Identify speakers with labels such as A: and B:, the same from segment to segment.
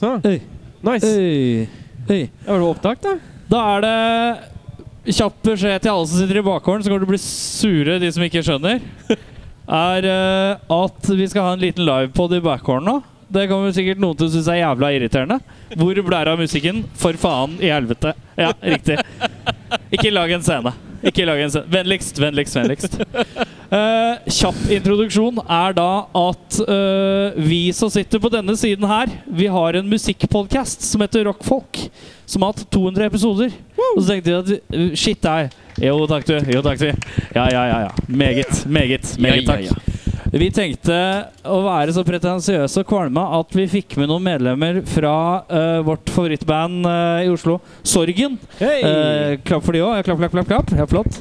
A: Så,
B: Øy,
A: nice.
B: øy, øy.
A: Ja, Var det opptak, da?
C: Da er det kjapp beskjed til alle som sitter i bakgården, så kommer til å bli sure, de som ikke skjønner. Er eh, at vi skal ha en liten livepod i bakgården nå. Det kommer sikkert noen til å synes er jævla irriterende. Hvor blæra musikken? For faen i helvete. Ja, riktig. Ikke lag en scene. Ikke lag en scene. Vennligst, vennligst, vennligst. Eh, kjapp introduksjon er da at eh, vi som sitter på denne siden her, vi har en musikkpodkast som heter Rockfolk som har hatt 200 episoder. Og så tenkte vi at vi- uh, shit, nei. Jo takk, du. Jo takk, du. Ja, ja, ja. ja. Meget, meget. meget
D: Ja,
C: takk.
D: ja,
C: Vi tenkte å være så pretensiøse og kvalme at vi fikk med noen medlemmer fra eh, vårt favorittband eh, i Oslo, Sorgen.
A: Hey.
C: Eh, klapp for de òg. Klapp, klapp, klapp. klapp. Ja, flott.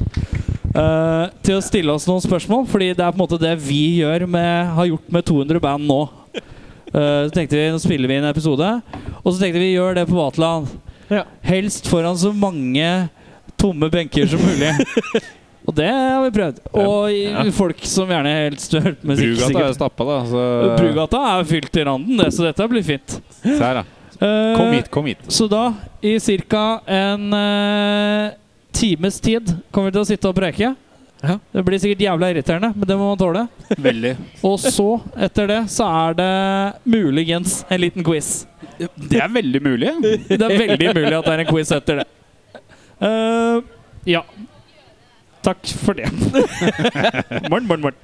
C: Eh, til å stille oss noen spørsmål, fordi det er på en måte det vi gjør med, har gjort med 200 band nå. Eh, så tenkte vi, Nå spiller vi en episode, og så tenkte vi gjør det på Vaterland.
A: Ja.
C: Helst foran så mange tomme benker som mulig. og det har vi prøvd. Og i-
D: Ja.
C: folk som gjerne helst hører på musikk.
D: Brugata er
C: sikkert.
D: stappa, da. Så
C: Brugata er fylt til randen, det, så dette blir fint.
D: Se her, da.
C: Eh,
D: Kom hit, kom hit.
C: så da, i ca. en eh, times tid, kommer vi til å sitte og preike.
A: Ja.
C: Det blir sikkert jævla irriterende, men det må man tåle.
D: Veldig.
C: Og så, etter det, så er det muligens en liten quiz.
D: Det er veldig mulig.
C: Det er veldig mulig at det er en quiz etter det. Eh, ja. Takk for det. morn, morn, morn.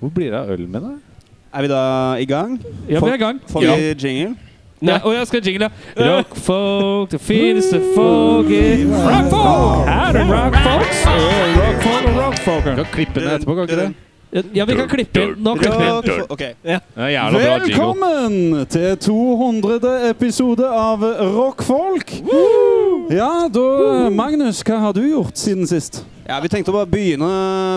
D: Hvor blir det av ølen min, da?
E: Er vi da i gang?
C: Ja, vi er i gang.
E: Får
C: Ja.
E: vi jingle?
C: Ja, og jeg skal jingle. Rock folk, det fineste folk i Rock folk! Er det rock folks? Rock folk og rock folk.
D: Du kan klippe den etterpå, kan ikke det?
C: Ja, vi kan klippe inn. Nå klipper vi inn.
E: Rock- Ok.
D: Det er jævla bra jingle.
F: Velkommen til 200. episode av Rockfolk. Ja, da Magnus, hva har du gjort siden sist?
E: Ja, Vi tenkte å bare begynne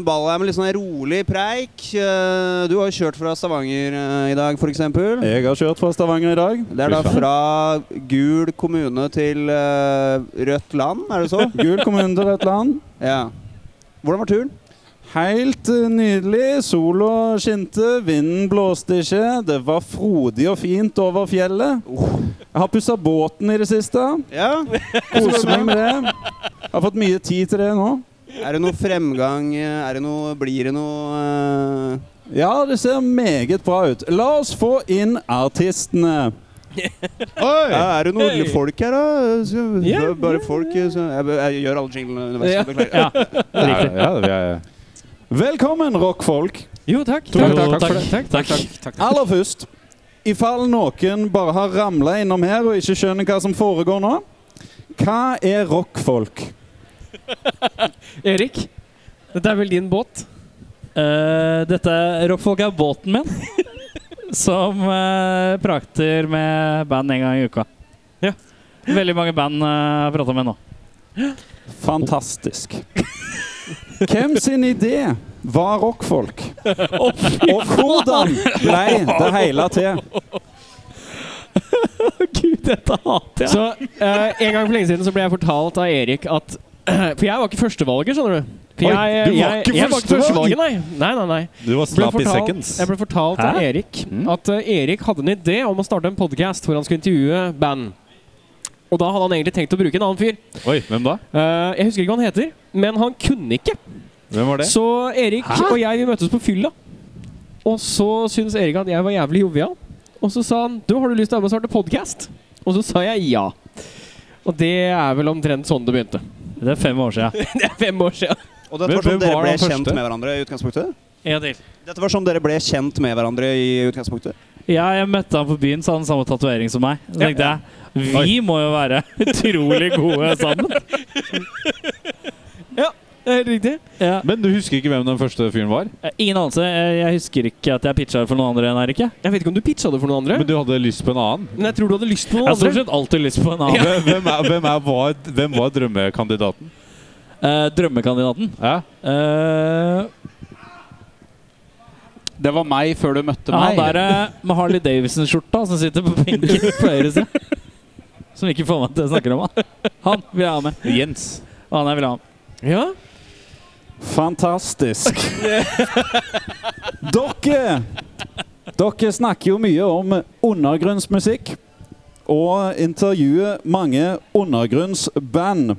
E: ballet her med litt sånn her rolig preik. Eh, Du har jo kjørt fra Stavanger eh, i dag, f.eks. Det
F: Jeg har kjørt fra Stavanger i dag.
E: er da
D: Fy faen.
E: fra gul kommune til eh, rødt land, er det så?
F: Gul kommune til et land.
E: Ja. Hvordan var turen?
F: Helt eh, nydelig. Sola skinte, vinden blåste ikke. Det var frodig og fint over fjellet. Jeg har pussa båten i det siste.
E: Ja.
F: Koser meg med det. Jeg har fått mye tid til det nå.
E: Er det noe fremgang? eh, Er det noe, blir det noe eh,
F: Ja, det ser meget bra ut. La oss få inn artistene.
E: ja, Er det noe
A: Hey.
E: folk her, da? Så-
A: Ja,
E: Bare folk? eh, Så jeg, jeg gjør alle jinglene underveis.
A: Ja.
E: jeg Beklager.
D: Ja, ja, vi er
F: Velkommen, rockfolk.
A: Jo, takk.
D: Takk, takk,
A: takk,
D: takk.
A: takk, takk,
F: Aller først, ifall noen bare har ramla innom her og ikke skjønner hva som foregår nå Hva er rockfolk?
A: Erik, dette er vel din båt?
C: Eh, dette Rockfolk er båten min, som eh, prakter med band en gang i uka.
A: Ja.
C: Veldig mange band eh, jeg har prata med nå.
F: Fantastisk. Hvem sin idé var rockfolk? Og hvordan blei det hele til?
C: Gud, dette hater
A: Så eh, En gang for lenge siden så ble jeg fortalt av Erik at For jeg var ikke førstevalget, skjønner du. For
D: Oi,
A: jeg,
D: du var
A: jeg,
D: ikke
A: jeg var ikke førstevalget,
D: førstevalget?
A: nei. Nei, nei, nei.
D: Du var
A: Ble
D: slapp i
A: fortalt-
D: seconds.
A: Jeg ble fortalt av
C: Hæ?
A: Erik
D: Mm.
A: at eh, Erik hadde en idé om å starte en podkast hvor han skulle intervjue band. Og da hadde han egentlig tenkt å bruke en annen fyr.
D: Oi, hvem da?
A: Eh, jeg husker ikke hva han heter, men han kunne ikke.
D: Hvem var det?
A: Så Erik og jeg vi møttes på fylla. Og så syntes Erik at jeg var jævlig jovial. Og så sa han du har du lyst til å være med og starte podkast. Og så sa jeg ja. Og det er vel omtrent sånn det begynte.
C: Det er fem år sia.
A: Det er fem år siden.
E: Og dette
D: Hvem-
E: var
D: hvem
E: sånn dere
D: var
E: ble
D: den første?
E: kjent med hverandre i utgangspunktet?
C: En til.
E: Dette var sånn dere ble kjent med hverandre i utgangspunktet?
C: Ja, jeg møtte han på byen, så hadde han samme tatovering som meg. Så tenkte jeg vi
D: Oi.
C: må jo være utrolig gode sammen.
A: Det er Riktig.
C: Ja.
D: Men du husker ikke hvem den første fyren var?
C: Eh, Ingen anelse. Eh, Jeg husker ikke at jeg pitcha for noen andre enn Erik. jeg.
A: Jeg vet ikke om du pitcha det for noen andre,
D: Men
A: men,
D: du hadde lyst på en annen?
A: jeg tror du hadde lyst på
C: Jeg
A: noen
C: har stort
A: andre.
C: sett alltid lyst på en annen.
D: Hvem, hvem, er, hvem, er, var, hvem var drømmekandidaten?
C: Eh, drømmekandidaten.
D: Ja?
C: Eh,
G: Det var meg før du møtte
C: Ja,
G: meg.
C: han der eh, med Harley Davidson-skjorta som sitter på benken på høyre side. Som ikke får meg til å snakke om han. Han vil jeg ha med.
D: Jens.
C: Og han jeg vil ha med.
A: Ja.
F: Fantastisk. Dere Dere snakker jo mye om undergrunnsmusikk. og intervjue mange undergrunnsband.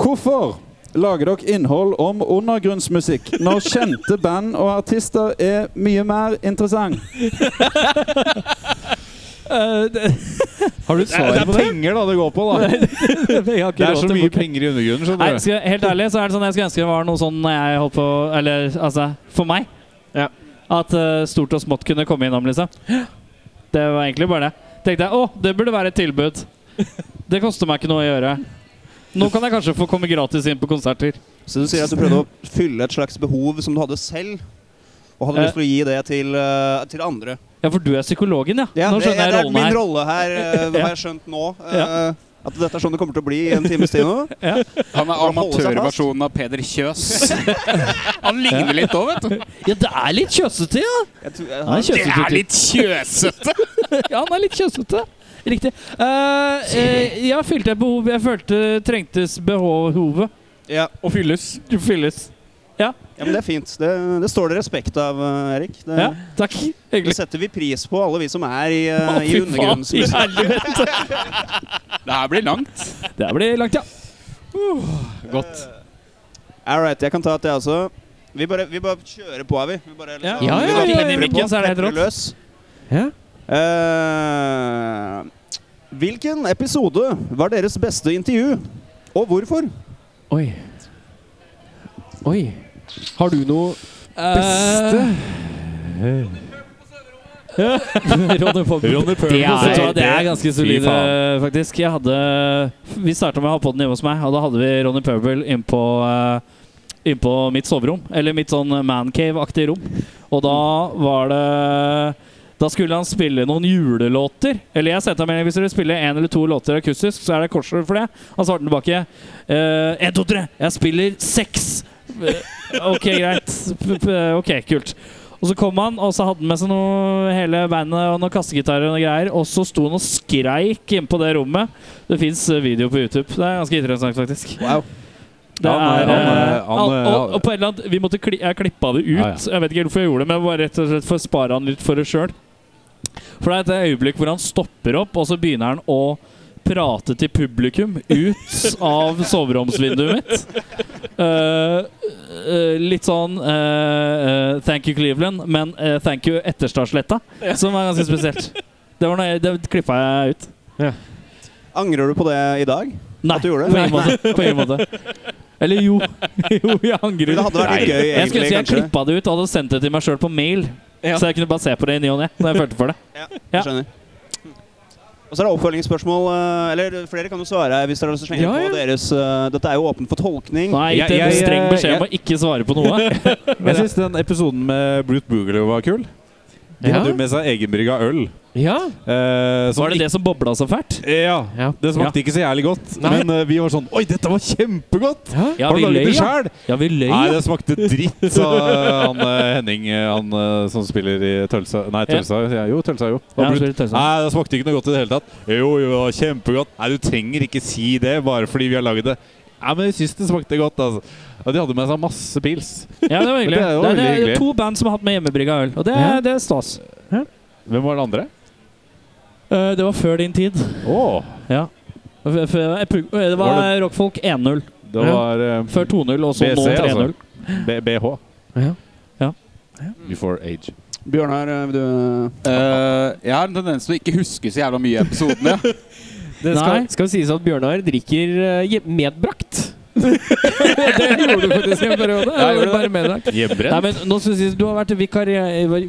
F: Hvorfor lager dere innhold om undergrunnsmusikk når kjente band og artister er mye mer interessant?
E: Eh,
D: Har du svar på det? Det er penger da det går på, da. Det er så mye penger i undergrunnen.
C: Nei,
D: skjønner du.
C: skal, jeg- helt ærlig så er det sånn jeg skulle ønske det var noe sånn når jeg holdt på Eller altså, for meg.
A: Ja.
C: At eh, stort og smått kunne komme innom, liksom. Det var egentlig bare det. Tenkte jeg, å, det burde være et tilbud. Det koster meg ikke noe å gjøre. Nå kan jeg kanskje få komme gratis inn på konserter.
E: Så du sier at du prøvde å fylle et slags behov som du hadde selv, og hadde
C: Eh.
E: lyst til å gi det til, eh, til andre.
C: Ja, for du er psykologen, ja.
E: Ja,
C: Nå
E: det,
C: skjønner jeg
E: det er
C: rollen
E: min
C: her.
E: rolle her, eh, har jeg skjønt nå. eh,
C: Ja.
E: At dette er sånn det kommer til å bli i en times tid nå.
B: Han er
E: Å holde seg fast.
B: amatørversjonen av Peder Kjøs. Han ligner litt òg, vet du.
C: Ja, det er litt kjøsete, ja.
E: Jeg tror, jeg
C: Han
E: har,
C: er kjøsete.
B: Det er litt kjøsete!
C: Ja, han er litt kjøsete. Riktig. Eh, eh, jeg fylte et behov jeg følte trengtes behovet.
E: ja.
A: Og fylles.
C: Fylles.
E: ja, men det er fint. Det, det står det respekt av, eh, Erik. Det,
C: Ja, takk.
E: det
C: Hyggelig.
E: setter vi pris på, alle vi som er i, eh,
C: Å, fy faen,
E: i
C: i
E: undergrunnsmusikk.
C: helvete.
B: Det her blir langt.
C: Det blir langt, ja.
B: Godt.
E: All right, jeg kan ta et, jeg også. Vi bare, vi bare kjører på, er vi. vi bare,
C: Ja.
E: liksom-
C: Ja, ja,
E: vi
C: ja,
E: bare
C: ja,
E: peprer
C: ja.
E: på,
C: Mikken, så er det helt
E: peprer
C: rått.
E: løs.
A: Ja.
E: Eh, hvilken episode var deres beste intervju, og hvorfor?
A: Oi. Oi. Har du noe
C: Beste Ronny Pompe.
D: Ronny
C: Det
D: Pøhl på
C: er,
D: scenen.
C: det er ganske
D: Fy
C: solide,
D: faen.
C: faktisk. Jeg hadde, vi starta med å ha podden hjemme hos meg, og da hadde vi Ronny Purple innpå inn på mitt soverom. Eller mitt sånn mancave-aktig rom. Og da var det Da skulle han spille noen julelåter. Eller jeg sendte ham melding hvis dere spiller én eller to låter akustisk, så er det korsord for det. Han svarte tilbake én, to, tre. Jeg spiller seks. Eh, OK, greit. P -p OK, kult. Og så kom han, og så hadde han med seg noe, hele bandet og noen kassegitarer og noe greier. Og så sto han og skreik inne på det rommet. Det fins video på YouTube. Det er ganske interessant, faktisk.
E: Wow.
C: Det
D: Han er-
C: er,
D: han er-
C: eh,
D: han
C: al-
D: er-
C: og, og på et eller annet Vi måtte kli, Jeg klippa det ut.
D: Ja, ja.
C: Jeg vet ikke helt hvorfor jeg gjorde det, men bare rett og slett for å spare han litt for det sjøl. For det er et øyeblikk hvor han stopper opp, og så begynner han å prate til publikum ut av soveromsvinduet mitt. Eh, eh, litt sånn eh, eh, Thank you, Cleveland, men eh, thank you Etterstadsletta, som var ganske spesielt. Det, var noe jeg- det klippa jeg ut.
E: Angrer du på det i dag?
C: Nei,
E: At du gjorde det?
C: på ingen måte. På ingen måte. Eller jo. jo, jeg angrer.
E: Det hadde vært litt gøy,
C: jeg skulle ønske
E: egentlig,
C: jeg
E: kanskje.
C: klippa det ut og hadde sendt det til meg sjøl på mail.
A: Ja.
C: Så jeg kunne bare se på det i ny og ne når jeg følte for det. Ja.
E: Jeg skjønner. Og så er det oppfølgingsspørsmål, eh, eller flere kan jo svare her hvis dere har lyst til å slenge
A: Ja,
E: på deres eh, Dette er jo åpent for tolkning.
C: Nå har jeg gitt
D: Jeg-
C: en
D: jeg-
C: streng beskjed om å ikke svare på noe.
D: Jeg syns den episoden med Brute Boogaloo var kul. De
A: Ja.
D: hadde jo med seg egenbrygga øl.
A: Ja.
D: eh, som
C: Var det det som bobla så fælt?
D: ikke- Ja.
A: Ja.
D: Det smakte ikke så jævlig godt,
A: Nei.
D: men eh, vi var sånn Oi, dette var kjempegodt!
A: ja.
C: Ja,
D: Har du
C: vi løy,
D: laget det
C: ja.
D: sjæl?
C: ja vi løy.
D: Nei,
C: Ja.
D: det smakte dritt, sa eh, han eh, Henning eh, han eh, som spiller i Tølsa Nei,
C: Ja.
D: Tølsa. sier jeg. Jo, Tølsa,
C: Ja,
D: jo.
C: sånn.
D: Og Brute-
C: spiller Tølsa.
D: Nei, det smakte ikke noe godt i det hele tatt. Jo, jo, det var kjempegodt. Nei, du trenger ikke si det bare fordi vi har laget det. Nei, men jeg syns det smakte godt, altså. Og de hadde med seg masse pils.
C: ja, det var hyggelig.
D: Det er jo
C: Det er, det er,
D: veldig hyggelig.
C: to band som har hatt med hjemmebrygga øl, og det,
A: Ja.
C: er- det er stas.
D: Hvem var den andre?
C: Eh, det var før din tid.
D: Åh,
C: Ja. F- f- jeg pug- eh, Det var
D: Var
C: Rockfolk 1-0.
D: det var eh,
C: Før 2-0, og så
D: BC,
C: nå 3-0.
D: altså. B BH.
A: Ja.
C: Ja.
D: Before age.
E: Bjørnar, eh, vil du
B: jeg har en tendens til å ikke huske så jævla mye i episodene.
A: Det
C: Nei.
A: skal, skal sies at Bjørnar drikker eh, hjem- medbrakt. det gjorde du faktisk i en periode.
B: Ja, jeg gjorde det.
A: Bare medbrakt.
C: Nei,
D: Hjemmebrent?
C: men nå skal vi si, Du har vært i vikari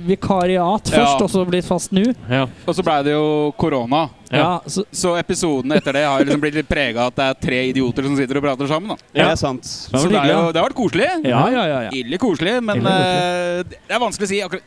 C: vikariat
B: Ja.
C: først, og så blitt fast nå.
A: Ja.
B: Og så blei det jo korona.
C: Ja. så
B: Så episodene etter det har liksom blitt litt prega av at det er tre idioter som sitter og prater sammen. Da.
E: Det
C: Ja.
E: er sant.
B: Så
C: var
B: det, er
C: hyggelig,
B: jo,
C: da.
B: det har vært koselig.
C: ja, ja, ja, ja.
B: Ille koselig, men
C: Ille
B: eh, det er vanskelig å si akkurat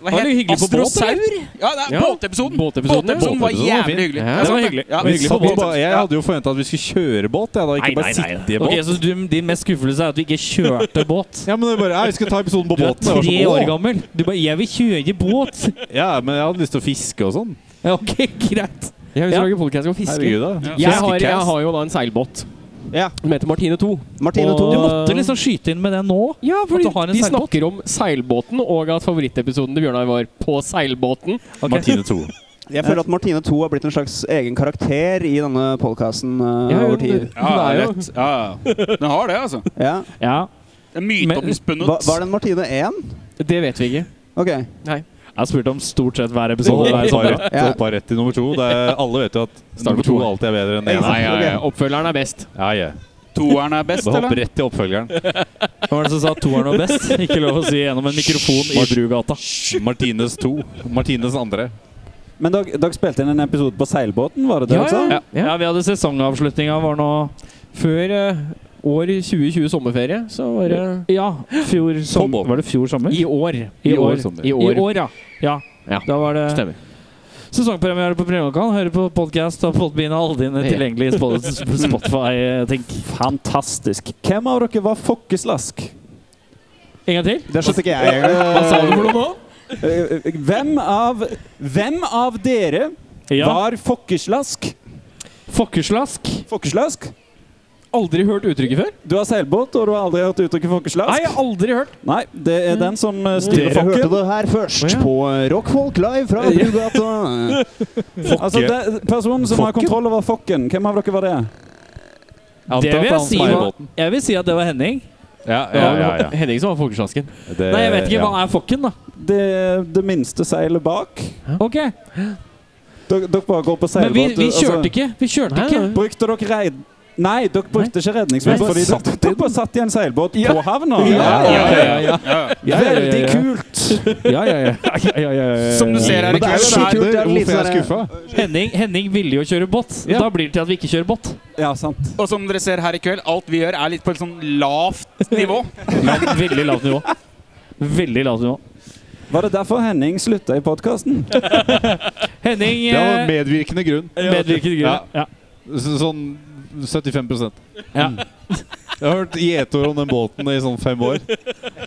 B: Hva
C: Var det hyggelig på båt,
B: Astrosaur? Ja, det er
A: Ja.
B: båtepisoden.
A: Båtepisoden, ja.
B: Båtepisoden var
D: Båtepisoden var
B: jævlig
D: fin.
B: hyggelig.
A: Ja,
B: Det er
A: det
B: sant,
C: var hyggelig.
B: Ja,
D: Vi
B: vi satt
D: satt
B: på
D: bare-
B: båt.
D: Jeg
B: Ja.
D: hadde jo forventa at vi skulle kjøre båt, jeg, da. Ikke bare sitte i båt.
C: Ok, så du, din mest skuffelse er at du ikke kjørte båt?
D: Ja, men det er bare, jeg skal ta episoden på
C: Du er
D: båten. Jeg var
C: tre
D: sånn,
C: år
D: «Åh!»
C: gammel. Du bare 'Jeg vil kjøre båt'.
D: Ja, men jeg hadde lyst til å fiske og sånn.
C: Ja, ok, greit.
A: Jeg vil
C: Ja.
A: lage podcast om fiske.
D: Herregud, da.
A: Jeg har, jeg
D: Fiskecast.
A: har jo da en seilbåt
E: Ja.
A: som heter Martine 2.
E: Martine
A: Og-
E: 2.
C: Du måtte liksom skyte inn med det nå?
A: Ja, fordi
C: At du har en
A: de
C: seilbåt?
A: snakker om seilbåten, og at favorittepisoden til Bjørnar var på seilbåten.
C: Ok.
D: Martine 2.
E: Jeg føler at Martine 2 har blitt en slags egen karakter i denne podkasten
A: Ja, hun-
E: over tid.
B: Ja,
A: Hun er jo-
B: rett. Ja, ja. Den har det, altså.
E: Ja.
C: Ja.
B: Det er
C: Men-
B: myteomspunnet.
E: Hva, var den Martine 1?
A: Det vet vi ikke.
E: Ok.
C: Jeg har spurt om stort sett hver
D: Så
C: episode. Hver
D: hoppa
C: sommer.
D: rett,
E: Ja.
D: hoppa rett til nummer to. Det er, alle vet jo at
A: Start på
D: nummer to
A: to.
D: alltid er bedre enn eneren.
B: Nei, ja, ja.
A: Oppfølgeren er best.
D: Ja, ja.
B: Toeren er best,
D: Så hopp
B: eller?
D: rett til oppfølgeren.
C: Hvem var det som sa at toeren var best? Ikke lov å si gjennom en mikrofon i Brugata.
D: Martines to. Martines andre.
F: Men dere, dere spilte inn en episode på seilbåten, var det det?
A: Ja,
F: dere sa?
C: Ja. ja, vi hadde sesongavslutninga var nå
A: Før eh, år 2020 sommerferie, så var det
C: Ja, fjor sommer.
D: båt.
C: Var det fjor sommer?
A: I år.
C: I år.
D: sommer.
A: I
C: I
A: år.
C: år, ja. Ja,
A: Ja.
C: Da var det
A: Stemmer.
C: sesongpremiere på Premiekanalen. Hører på podkast og podbean og alle dine
A: Ja.
C: tilgjengelige spot- Spotify-ting.
F: Fantastisk. Hvem av dere var fokkeslask?
C: En gang til?
E: Det skjønte ikke jeg engang.
A: Hva sa du for noe nå?
F: Eh, eh, Hvem av, hvem av dere
C: Ja.
F: var fokkeslask?
C: Fokkeslask.
F: Fokkeslask?
A: Aldri hørt uttrykket før?
F: Du har seilbåt, og du har aldri hørt uttrykket fokkeslask?
A: Nei, jeg har aldri hørt.
F: Nei, det er den som eh,
E: Mm.
F: styrer
E: Dere hørte
F: fokken.
E: det her først
A: Å, ja.
E: på eh, Rockfolk Live fra Brugata.
F: Altså, det, personen som har
D: Fokken?
F: kontroll over fokken, hvem av dere var det?
C: Det
D: Antatt
C: vil jeg
D: han
C: si
D: speiler
C: var
D: båten.
C: Jeg vil si at det var Henning.
D: Ja, ja, ja, ja.
A: Henning som var folkeslasken.
D: Det-
C: Nei, jeg vet
A: Eh,
C: ikke.
D: ja.
C: Hva er fokken, da?
F: Det, det minste seilet bak.
C: Ok,
F: Dere, dere bare går på
C: Men vi,
F: seilbåt.
C: vi
F: altså.
C: kjørte ikke. Vi kjørte
A: Nei,
C: ikke.
A: nei.
F: Brukte dere reid... Nei, dere brukte ikke redningsvest.
C: Nei.
F: Fordi
C: Bare
F: dere, dere bare satt i en seilbåt
A: Ja.
F: på havna.
A: Ja,
B: Ja, ja, ja.
C: Ja, ja, ja, ja.
F: Veldig kult!
C: Ja, ja, ja. ja, ja, ja, ja.
B: Som du ser her i
E: Men det er jo
B: kveld,
E: så kult. Det er litt
D: Hvorfor er jeg
E: sånn
D: skuffa?
C: Henning, Henning ville jo kjøre båt.
A: Ja.
C: Da blir det til at vi ikke kjører båt.
F: Ja, sant.
B: Og som dere ser her i kveld, alt vi gjør er litt på et sånn lavt nivå.
C: Veldig lavt nivå. Veldig lavt nivå.
F: Var det derfor Henning slutta i podkasten?
C: Henning
D: Det var
C: eh,
D: en medvirkende grunn.
C: medvirket i
D: Ja.
C: grunn. Ja.
D: Så- Sånn 75
C: Ja.
D: Jeg har hørt gjetord om den båten i sånn fem år.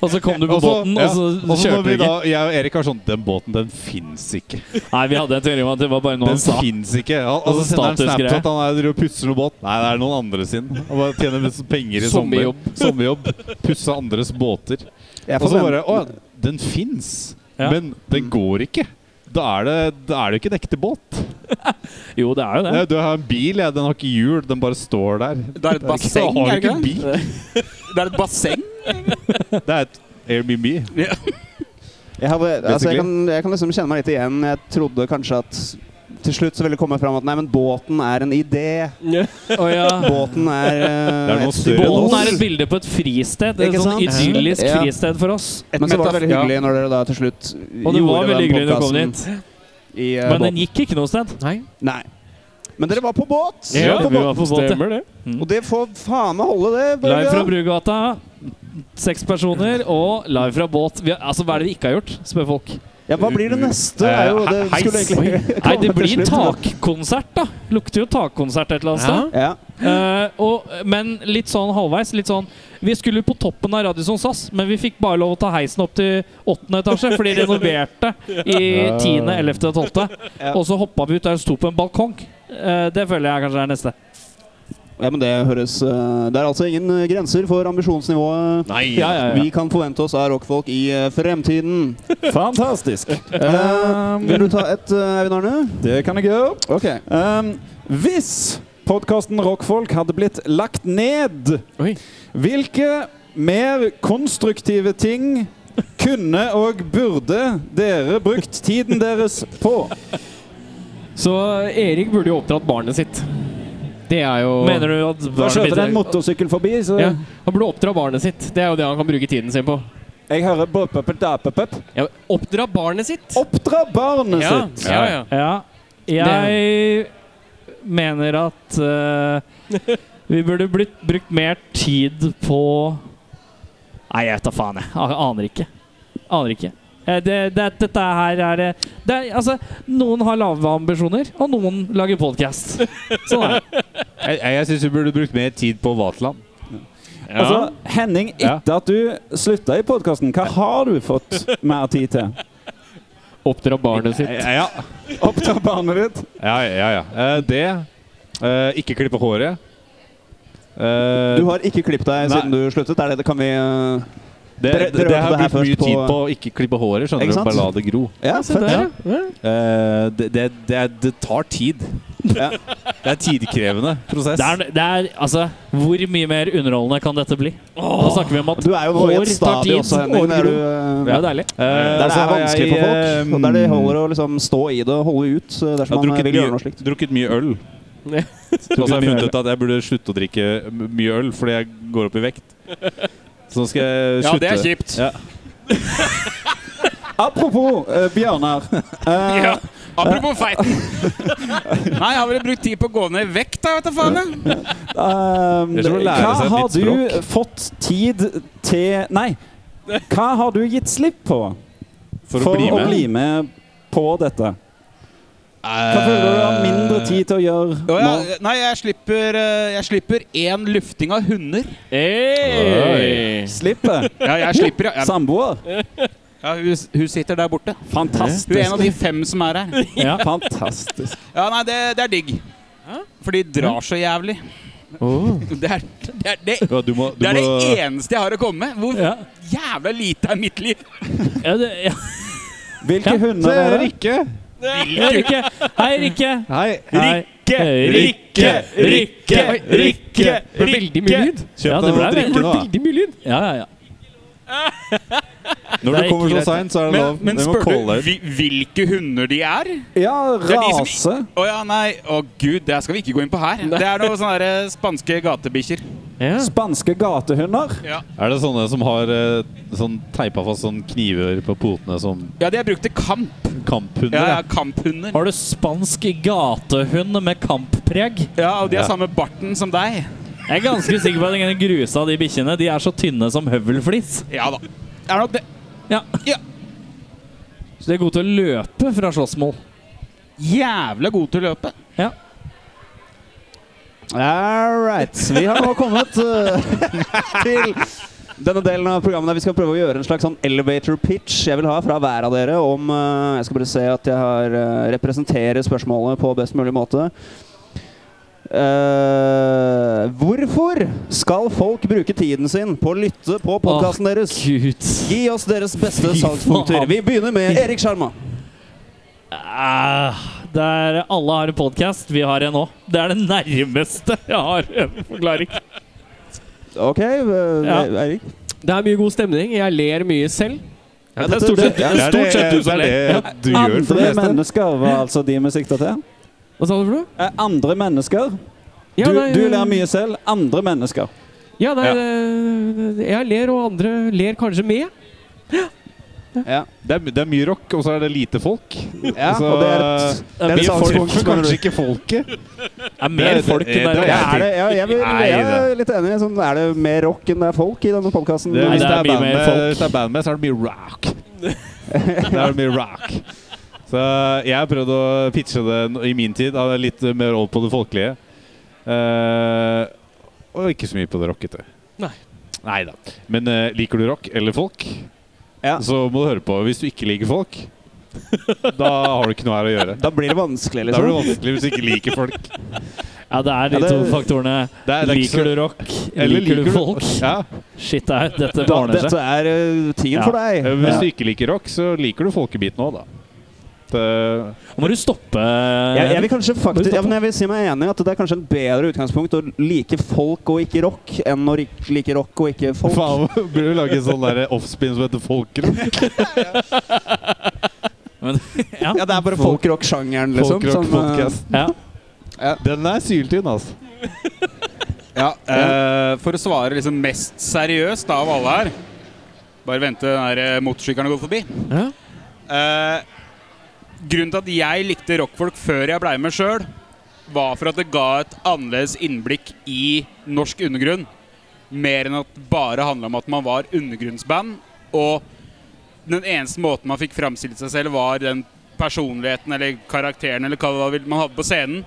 C: Og så kom du på
D: Og så-
C: båten,
D: ja.
C: og så
D: Og så når
C: kjørte du
D: vi
C: ikke.
D: da, jeg og Erik har sånn Den båten, den fins ikke.
C: Nei, vi hadde en teori om at det var bare noe
D: Den
C: han sa.
D: fins ikke. Han, og så
C: Altså,
D: sender han
C: statusgreier.
D: Snapchat. Han er, driver og pusser noe båt. Nei, det er noen andre sin. Han bare tjener mest penger i sommer.
A: Sommerjobb.
D: Sommerjobb. Pusse andres båter.
E: Jeg
D: Og så bare
E: forventer-
D: Å, den fins,
C: Ja.
D: men den går ikke. Da er, det, da er det jo ikke en ekte båt.
C: Jo, det er jo det.
D: Nei, Du har en bil, jeg. Den har ikke hjul. Den bare står der.
B: Det er et basseng,
D: har
B: er
D: ikke
B: det
D: en bil.
B: ikke det? Det er et basseng.
D: Det er et Airbnb.
E: Jeg, hadde, altså,
D: Basically.
E: jeg, kan, jeg kan liksom kjenne meg litt igjen. Jeg trodde kanskje at til slutt så ville det komme fram at nei, men båten er en idé.
C: Å ja.
E: Båten er, eh,
D: Det er noe større enn
E: et symbol.
C: Båten er et bilde på et fristed. Et
E: Ikke
C: sånn
E: sant?
C: idyllisk
E: Ja.
C: fristed for oss.
B: Et
E: Men så var det
B: metaf-
E: veldig hyggelig når dere da til slutt
C: Og det var
E: gjorde
C: veldig
E: den
C: hyggelig når du kom
E: podcasten
C: dit.
E: i eh,
C: Men
E: båten.
C: den gikk ikke noe sted.
A: Nei.
E: Nei. Men dere var på båt!
C: Ja, vi var på båt, ja.
A: Stemmer det.
E: Og det får faen meg holde, det.
C: Live fra
E: Børge.
C: Brugata. Seks personer og live fra båt. Vi, har- altså, Hva er det vi ikke har gjort, spør folk.
E: Ja, hva blir det neste? Det er jo, det
D: Eh,
E: skulle
D: heis.
E: egentlig
C: Nei, det
E: komme til
C: blir
E: slutt, da.
C: takkonsert, da. Lukter jo takkonsert et eller annet sted.
E: Ja.
C: Eh, og, men litt sånn halvveis. Litt sånn Vi skulle på toppen av Radisson SAS, men vi fikk bare lov å ta heisen opp til åttende etasje, for de renoverte i tiende, ellevte og tolvte.
E: Ja.
C: Og så hoppa vi ut der og sto på en balkong. Eh, det føler jeg kanskje er neste.
E: ja, men det høres eh, Det er altså ingen eh, grenser for ambisjonsnivået
D: Nei.
C: Ja, ja, ja.
E: vi kan forvente oss av rockfolk i eh, fremtiden.
F: Fantastisk.
E: Eh, vil du ta et, eh, Eivind Arne?
F: Ehm, Det kan jeg gjøre.
E: Ok.
F: Um, hvis podkasten Rockfolk hadde blitt lagt ned,
A: Oi.
F: hvilke mer konstruktive ting kunne og burde dere brukt tiden deres på?
A: Så Erik burde jo oppdratt barnet sitt. Det er jo
C: Mener du at
F: Da skjøter det en
C: mitt-
F: motorsykkel forbi, så
A: Ja, han burde oppdra barnet sitt. Det er jo det han kan bruke tiden sin på.
F: jeg hører bop-bop-da-pop-pop.
A: Ja, oppdra barnet sitt!
F: Oppdra barnet
A: ja,
F: sitt!
A: ja, ja.
C: Ja. Jeg mener at eh, vi burde blitt brukt mer tid på Nei, jeg vet da faen, jeg. A- Aner ikke. Aner ikke. Eh, Det, det, dette her er eh, det er, Altså, noen har lave ambisjoner, og noen lager podkast. Sånn er det.
D: Jeg, jeg syns vi burde brukt mer tid på Vaterland.
F: Altså, Henning,
D: Ja.
F: etter at du slutta i podkasten, hva har du fått mer tid til?
A: Oppdra barnet sitt.
D: Ja,
F: Oppdra barnet ditt?
D: ja, ja. ja. Eh, det eh, Ikke klippe håret. Eh,
E: Eh. Du har ikke klippet deg
D: Nei.
E: siden du sluttet? Er det, det kan vi eh,
D: Det,
E: Dere-
D: det,
E: dere hørte
D: har
E: det
D: jeg
E: her
D: brukt mye
E: først
D: tid
E: på-
D: på å ikke klippe håret, skjønner
E: Ikke
D: du.
E: sant?
D: Bare la det gro.
E: Ja,
A: Se der,
E: fett.
A: ja. ja.
D: Eh, det, det, det, er- det tar tid.
E: Ja.
D: Det er tidkrevende prosess.
C: Det er, det er, altså, hvor mye mer underholdende kan dette bli? Nå snakker vi om at
E: Du er jo nå i
C: Hår
E: et
C: tar
E: stadie
C: tid,
E: også, Henning.
C: hår
E: Der, du,
C: Det er jo deilig.
D: Eh,
E: der det
D: så
E: er
D: har
E: vanskelig
D: jeg,
E: for folk. Og der det
D: eh,
E: holder å liksom stå i det og holde ut eh,
D: jeg har
E: dersom man
D: drukket
E: vil gjøre noe
D: mye,
E: slikt.
D: drukket mye øl.
A: Ja.
D: Så har jeg
A: mye
D: funnet
A: øl.
D: ut at jeg burde slutte å drikke m- mye øl fordi jeg går opp i vekt. Så nå skal jeg
B: Ja,
D: slutte.
B: det er kjipt.
D: Ja.
F: Apropos eh, Bjørnar. Eh,
B: Ja. Apropos feiten. Nei, jeg har vel brukt tid på å gå ned i vekt, da, vet du faen. jeg.
F: ehm,
D: Det er som å lære
F: hva
D: seg et
F: har
D: nytt
F: du fått tid til Nei, hva har du gitt slipp på
D: For, å bli med.
F: med på dette?
D: Eh,
F: Hva føler du du har mindre tid til å gjøre
B: Å ja,
F: nå?
B: Nei, jeg slipper, eh, jeg slipper én lufting av hunder.
A: Eh, Hey.
F: Slippet?
B: Ja, jeg slipper, ja.
F: Samboer?
B: ja hun, hun sitter der borte. Hun er en av
F: Fantastisk.
B: de fem som er her.
C: Ja.
F: Fantastisk.
B: Ja, nei, det, det er digg. For de drar så jævlig. Det, er, det, er, det,
D: Ja, du må, du
B: det er
D: må,
B: det eneste jeg har å komme med. Hvor
C: Ja.
B: jævla lite er mitt liv?
C: Ja, det, ja.
F: Hvilke hunder er det?
D: Rikke.
C: Hei, Rikke! Hei, Rikke!
D: Hei.
C: Hei.
A: Rikke,
C: Rikke, Rikke, Rikke,
A: Det ble veldig mye lyd.
D: Kjøp
C: Ja, det ble
D: deg noe å
C: veldig-
D: drikke nå. da.
A: Veldig mye lyd.
C: Ja, ja, ja.
D: Når
C: Det
D: du
C: er
D: kommer
C: ikke
D: så
C: greit.
D: seint, så er det
B: Men,
D: lov.
B: men
D: Vi må
B: spør du
D: calle ut.
B: hvi- hvilke hunder de er?
F: Ja,
B: er de som-
F: rase.
B: Å ja, nei. Å gud, det skal vi ikke gå inn på her. Det er noen sånne der spanske gatebikkjer.
A: Ja.
F: Spanske gatehunder.
D: Er det sånne som har eh, sånn teipa fast sånn kniver på potene som
B: Ja, de har brukt til kamp.
D: kamphunder?
B: Ja, ja,
D: da?
B: kamphunder.
C: Har du spansk gatehund med kamppreg?
B: Ja, og de har
D: Ja.
B: samme barten som deg.
C: Jeg er ganske sikker på at ingen grusa de bikkjene. De er så tynne som høvelflis.
B: Ja da. Er det nok det?
C: Ja.
B: Ja.
C: Så de er gode til å løpe fra slåssmål.
B: Jævla gode til å løpe.
E: All right. Vi har nå kommet eh, til denne delen av programmet der vi skal prøve å gjøre en slags sånn elevator pitch jeg vil ha fra hver av dere om eh, Jeg skal bare se at jeg har eh, representerer spørsmålet på best mulig måte. Eh, hvorfor skal folk bruke tiden sin på å lytte på podkasten deres?
C: Gud.
E: Gi oss deres beste
C: Fy
E: salgspunkter.
C: faen.
E: Vi begynner med Erik Sjarma.
C: Ah, Der alle har en podkast, vi har en òg. Det er det nærmeste jeg har en forklaring.
E: OK, eh,
C: Ja.
E: Eirik.
A: Det er mye god stemning. Jeg ler mye selv.
E: Ja, det er stort sett
D: Det er det,
C: sett du
D: det,
C: som
D: er det du gjør for det
F: Andre
D: meste.
F: mennesker var altså de vi sikta til.
A: Hva sa du for noe?
F: Eh, Andre mennesker.
A: Ja,
F: Du,
A: nei, eh,
F: du ler mye selv. Andre mennesker.
A: Ja, nei,
D: Ja.
A: det- det- jeg ler, og andre ler kanskje med.
D: Det er, det er mye rock, og så er det lite folk.
E: Ja,
D: Så,
E: og det er
C: Det er
E: et, det er et
C: mye folk,
E: salgspunkt.
D: Treffer
E: mener du?
D: kanskje ikke folket.
C: Det er mer
D: Det- det-
C: folk
D: det-
C: enn
D: det-
C: der.
D: det-
E: Er det, ja, jeg, vil,
D: Nei,
E: jeg er litt enig. Sånn, er det mer rock enn det er folk i denne podkasten?
D: Det,
C: Nei,
D: hvis
C: det er
D: det er
C: mye
D: band
C: mer
D: med,
C: folk.
D: hvis det er band med, så er det mye rock. Da er det mye rock. Så jeg har prøvd å pitche det n- i min tid, da er det litt mer over på det folkelige. Eh, og ikke så mye på det rockete.
A: Nei.
D: Neida. Men eh, liker du rock eller folk,
E: Ja.
D: så må du høre på. Hvis du ikke liker folk, da har du ikke noe her å gjøre.
E: Da blir det vanskelig,
D: Da blir det
E: liksom.
D: vanskelig hvis du ikke liker folk.
C: Ja, det er de
E: Ja, det-
C: to faktorene.
D: Det er- det er ikke så-
C: Liker du rock?
D: Eller
C: Liker du folk?
D: Ja.
C: Shit, det er, dette
E: Da,
C: ordner seg.
E: dette er eh, tingen
C: Ja.
E: for deg.
D: Hvis du ikke liker rock, så liker du folkebiten òg, da. eh, Det,
C: Må du stoppe eh,
E: Jeg, jeg vil kanskje faktisk,
C: stoppe?
E: ja, men jeg vil si meg enig i at det er kanskje en bedre utgangspunkt å like folk og ikke rock, enn å rik- like rock og ikke folk.
D: faen, burde du lage en sånn der offspin som heter folkerock?
C: Men, ja.
E: Ja, det er bare folkrock-sjangeren, liksom.
D: Folkerock
E: som, eh,
D: podcast.
C: Ja.
D: Den er syltynn, altså.
B: Ja, eh, For å svare liksom mest seriøst da av alle her Bare vente den der eh, motorsykkelen går forbi.
A: Ja.
B: Eh, grunnen til at jeg likte rockfolk før jeg blei med sjøl, var for at det ga et annerledes innblikk i norsk undergrunn. Mer enn at det bare handla om at man var undergrunnsband. Og den eneste måten man fikk framstilt seg selv, var den personligheten eller karakteren eller hva det var man hadde på scenen.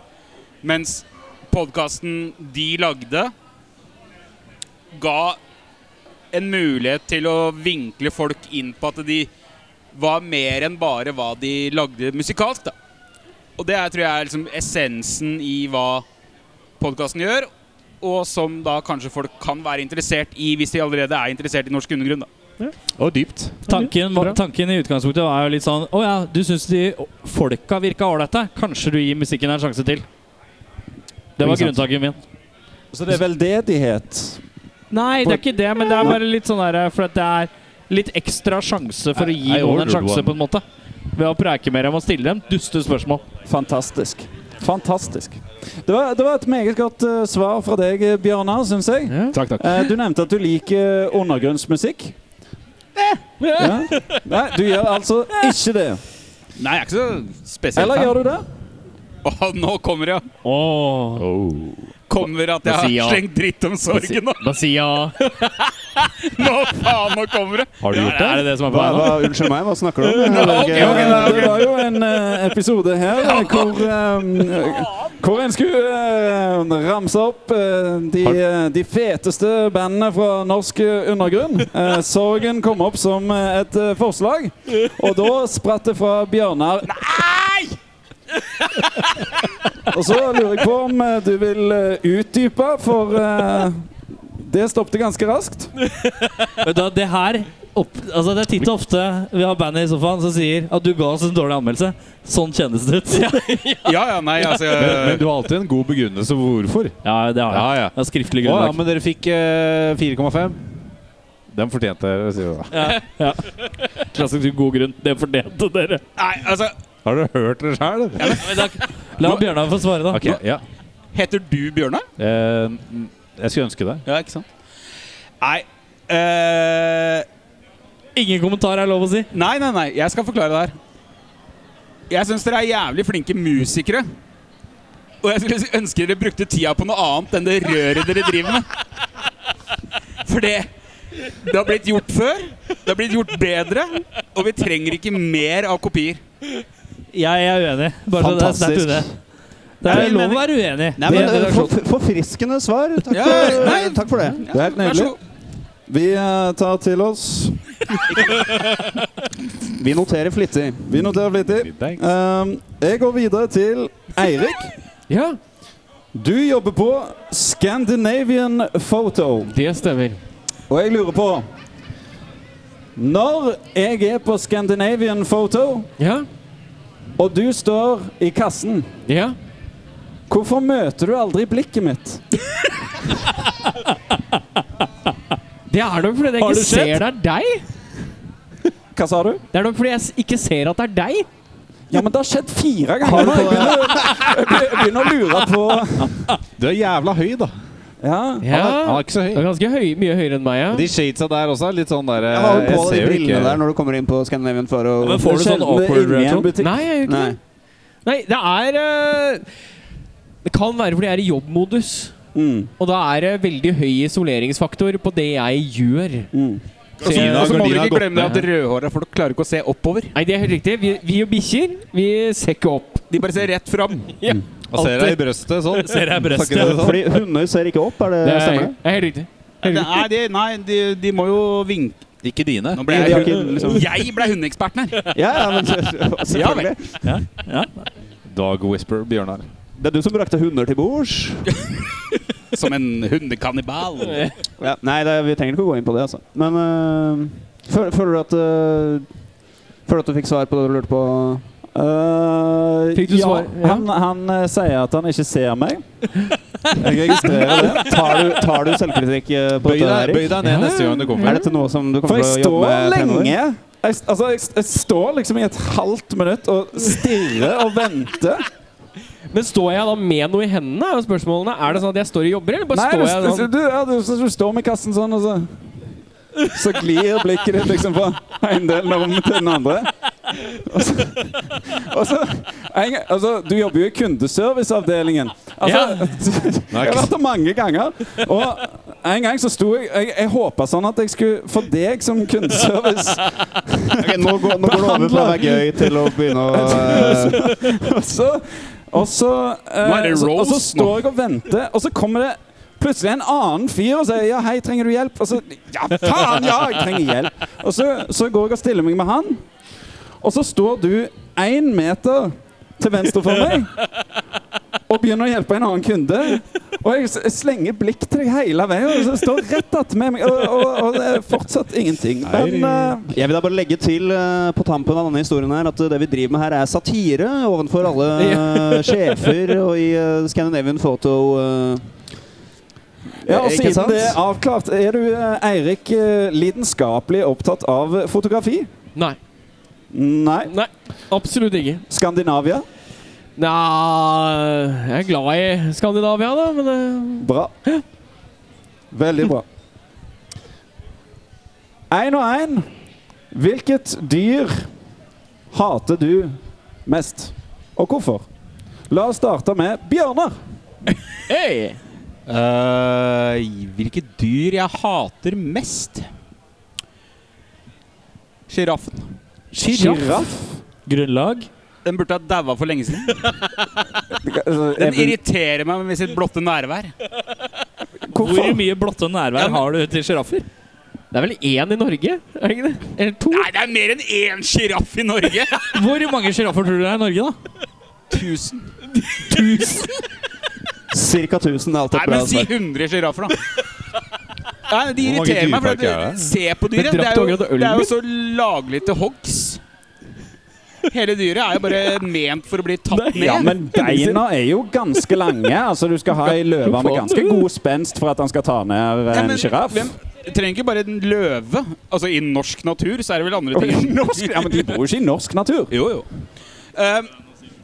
B: Mens podkasten de lagde, ga en mulighet til å vinkle folk inn på at de var mer enn bare hva de lagde musikalsk. da. Og det er, tror jeg er liksom essensen i hva podkasten gjør, og som da kanskje folk kan være interessert i hvis de allerede er interessert i norsk undergrunn. da.
D: Og dypt.
C: Tanken, var-
A: Bra.
C: tanken i utgangspunktet var jo litt sånn Å ja, du syns de folka virka ålreite. Kanskje du gir musikken en sjanse til. Det var
D: Ikke sant.
C: grunntanken min.
F: Så det er veldedighet.
C: Nei, det er ikke det, men det er bare litt sånn der For at det er litt ekstra sjanse for å gi noen
D: I
C: en
D: ordered
C: sjanse,
D: one.
C: på en måte. Ved å preike med dem og stille dem duste spørsmål.
F: Fantastisk. Fantastisk. Det var, det var et meget godt eh, svar fra deg, eh, Bjørnar, syns jeg.
D: Takk, takk.
F: Eh, du nevnte at du liker eh, undergrunnsmusikk.
A: Eh.
F: Ja. Nei, du gjør altså ikke det.
B: Nei, jeg er ikke så spesielt
F: Eller gjør du det?
B: Å, nå kommer det, ja. Kommer at jeg
C: Hva
B: har
C: sier jeg?
B: slengt dritt om sorgen nå.
C: Da sier jeg
B: Nå faen, nå kommer det!
D: Har du gjort det?
C: Er det det som er
E: Hva,
C: planen?
E: hva, unnskyld meg, hva snakker du om?
B: ok,
E: Jeg-
B: ok,
E: jeg-
F: Det var jo en eh, episode her eh, hvor, eh, hvor en skulle eh, ramse opp eh, de, eh, de feteste bandene fra norsk eh, undergrunn. Eh, Sorgen kom opp som eh, et eh, forslag, og da spratt det fra Bjørnar Nei! Og så lurer jeg på om eh, du vil eh, utdype, for eh, det stoppet ganske raskt.
C: Vet du, hva, det her opp, altså Det er titt og ofte vi har bandet i sofaen som sier at du ga oss en dårlig anmeldelse. Sånn kjennes det ut. Ja,
B: Ja, ja, nei, altså
D: Men, men du har alltid en god begrunnelse for hvorfor.
C: det har jeg.
D: Eh, Ja, ja.
C: Det er skriftlig
D: Å ja,
C: grunnlag.
D: men dere fikk eh, 4,5. Den fortjente dere, sier du da.
C: Klassisk god grunn. Det fortjente dere.
B: Nei, altså,
D: Har du hørt det sjøl?
C: La Bjørnar få svare, da.
D: Ok, ja.
B: heter du Bjørnar?
D: Eh, jeg skulle ønske det.
B: Ja, ikke sant? Nei. eh,
C: Ingen kommentar er lov å si.
B: nei, nei, nei, jeg skal forklare det her. Jeg syns dere er jævlig flinke musikere. Og jeg skulle ønske dere brukte tida på noe annet enn det røret dere driver med. For det Det har blitt gjort før. Det har blitt gjort bedre. Og vi trenger ikke mer av kopier.
C: Jeg er uenig. Bare så det er sterkt
E: Fantastisk.
C: uenig. Det
B: Nei,
C: er
B: men-
C: lov å være uenig.
B: Nei,
E: Men,
B: men,
E: eh, for- Forfriskende svar. Takk,
B: Ja,
E: for-
B: nei.
E: takk for det.
F: Det er helt
B: vær så
F: nydelig.
B: god.
F: Vi eh, tar til oss.
E: Vi noterer flittig.
F: Vi noterer flittig.
D: Thanks.
F: Um, jeg går videre til Eirik.
A: Ja,
F: Du jobber på Scandinavian Photo,
A: det stemmer.
F: og jeg lurer på Når jeg er på Scandinavian Photo,
A: Ja.
F: og du står i kassen,
A: Ja.
F: hvorfor møter du aldri blikket mitt?
A: Det er nok fordi jeg
C: Har
A: ikke
C: det
A: ser
C: skjedd?
A: det er deg.
F: Hva sa du?
A: Det er nok fordi jeg s- ikke ser at det er deg.
F: Ja, men det har skjedd fire ganger. nå. Jeg begynner, jeg be- jeg begynner å lure på
D: Du er jævla høy, da.
F: Ja.
A: Ja.
D: Han, er, han er ikke så
A: Det er
D: høy.
A: ganske høy, mye høyere enn meg, ja.
D: De shadesa der også er litt sånn der eh,
E: Jeg har jo på
D: ser
E: de
D: jo
E: brillene
D: ikke-
E: der når du kommer inn på Scandinavian for å
C: Men får du sånn
F: Sjelden
C: awkward
F: inni en
C: reaksjon?
F: butikk.
A: Nei, jeg gjør ikke
E: Nei.
A: det. Nei, det er eh, Det kan være fordi jeg er i jobbmodus.
F: Mm,
A: Og da er det veldig høy isoleringsfaktor på det jeg gjør.
F: mm.
B: Og så-
D: Gardina-
B: og så må
D: gardina
B: dere
D: har gått
B: ikke glemme
D: ned.
B: at rødhåra folk klarer ikke å se oppover.
A: Nei, det er helt riktig. Vi, vi og bikkjer, vi ser ikke opp.
B: De bare ser rett fram.
D: Han ser deg i brøstet sånn.
C: Ser jeg brøstet.
D: Snakker du sånn?
E: Fordi hunder ser ikke opp, er det,
A: Det er,
E: stemmer det?
A: det er helt riktig.
B: Nei, de, nei de, de må jo vinke
D: Ikke dine.
B: Nå ble
E: De har
B: jeg,
E: ikke liksom-
B: jeg ble hundeeksperten her.
E: Ja, ja, men selvfølgelig.
D: Dog Whisper, Bjørnar.
E: Det er du som brakte hunder til bords.
B: Som en hundekannibal.
E: Ja, nei, det, vi trenger ikke å gå inn på det, altså. Men øh, føler, føler du at øh, Føler du at du fikk svar på det du lurte på?
F: Eh,
A: Fikk du
F: ja,
A: svar? Ja.
F: Han, han eh, sier at han ikke ser meg. Jeg registrerer det.
E: Tar du, tar du selvkritikk øh, på
D: Bøy
E: dette,
D: deg, bøy
E: Erik?
D: deg ned neste gang du
E: Er sånn-
D: kommer.
E: dette noe som du
F: For
E: kommer
F: jeg
E: til å jobbe
F: står
E: med fremover?
F: lenge. Jeg, s- altså, jeg, s- jeg står liksom i et halvt minutt og stirrer og venter.
A: Men står jeg da med noe i hendene? Er jo spørsmålene. Er det sånn at jeg står og jobber, eller bare
F: Nei, du,
A: står jeg
F: du,
A: sånn?
F: du, ja, du, så- så står med kassen sånn, og så Så glir blikket ditt liksom fra en delen av rommet til den andre. Og så, og så en, gang- altså, Du jobber jo i kundeserviceavdelingen. Altså,
D: Nei,
F: Jeg har vært der mange ganger. Og en gang så sto jeg Jeg, jeg håpa sånn at jeg skulle få deg som kundeservice.
E: Ok, nå, går, nå går det over fra å være gøy til å begynne å øh,
F: Og så, og så, eh,
B: Nå er det
F: så, og så
B: roast nå.
F: står jeg og venter, og så kommer det plutselig en annen fyr og sier 'Ja, hei, trenger du hjelp?' Og så 'Ja, faen, ja, jeg trenger hjelp'. Og så, så går jeg og stiller meg med han, og så står du én meter til venstre for meg og begynner å hjelpe en annen kunde. Og jeg s- slenger blikk til deg hele veien, og så står rett attmed meg, og, og, og det er fortsatt ingenting. Men eh,
E: Jeg vil da bare legge til eh, på tampen av denne historien her at eh, det vi driver med her, er satire ovenfor alle eh, sjefer og i eh, Scandinavian Photo eh,
F: ja, og
E: Ikke
F: siden
E: sant?
F: det er avklart, er du eh, Eirik eh, lidenskapelig opptatt av eh, fotografi?
A: Nei.
F: Nei.
A: Nei, absolutt ikke.
F: Skandinavia?
A: Nja Jeg er glad i Skandinavia, da, men eh,
F: Bra. Veldig bra. Én og én. Hvilket dyr hater du mest, og hvorfor? La oss starte med bjørner.
A: Hei!
B: Eh, hvilke dyr jeg hater mest? Sjiraffen.
F: Sjiraff.
C: Grunnlag?
B: Den burde ha daua for lenge siden. Den
F: Even-
B: irriterer meg med sitt blotte nærvær.
C: Hvor
F: Hvorfor?
C: mye blotte nærvær har du til sjiraffer?
A: Det er vel én i Norge? Er det ikke det? Eller to?
B: Nei, det er mer enn én sjiraff i Norge!
C: Hvor mange sjiraffer tror du det er i Norge, da?
B: Tusen.
E: Cirka 1000 er alltid
B: Nei,
E: et bra
B: men si
E: svar.
B: 100 sjiraffer, da. Nei, De
D: Hvor mange
B: irriterer meg. for
D: dyreparker er
B: at
D: det?
B: Se på dyret.
A: Men
B: Det
A: drakk
B: er,
A: du
B: jo,
A: akkurat ølen
B: det er jo
A: din?
B: så laglig til hogs. Hele dyret er jo bare ment for å bli tatt ned.
F: Ja, men beina er jo ganske lange. Altså, Du skal ha ei løve med ganske god spenst for at han skal ta ned
D: Eh,
B: Ja,
F: en
B: men
F: sjiraff.
B: hvem- Trenger ikke bare en løve. Altså, I norsk natur så er det vel andre ting. enn-
F: Norsk- Ja, men de bor jo ikke i norsk natur.
B: Jo, jo. Ehm,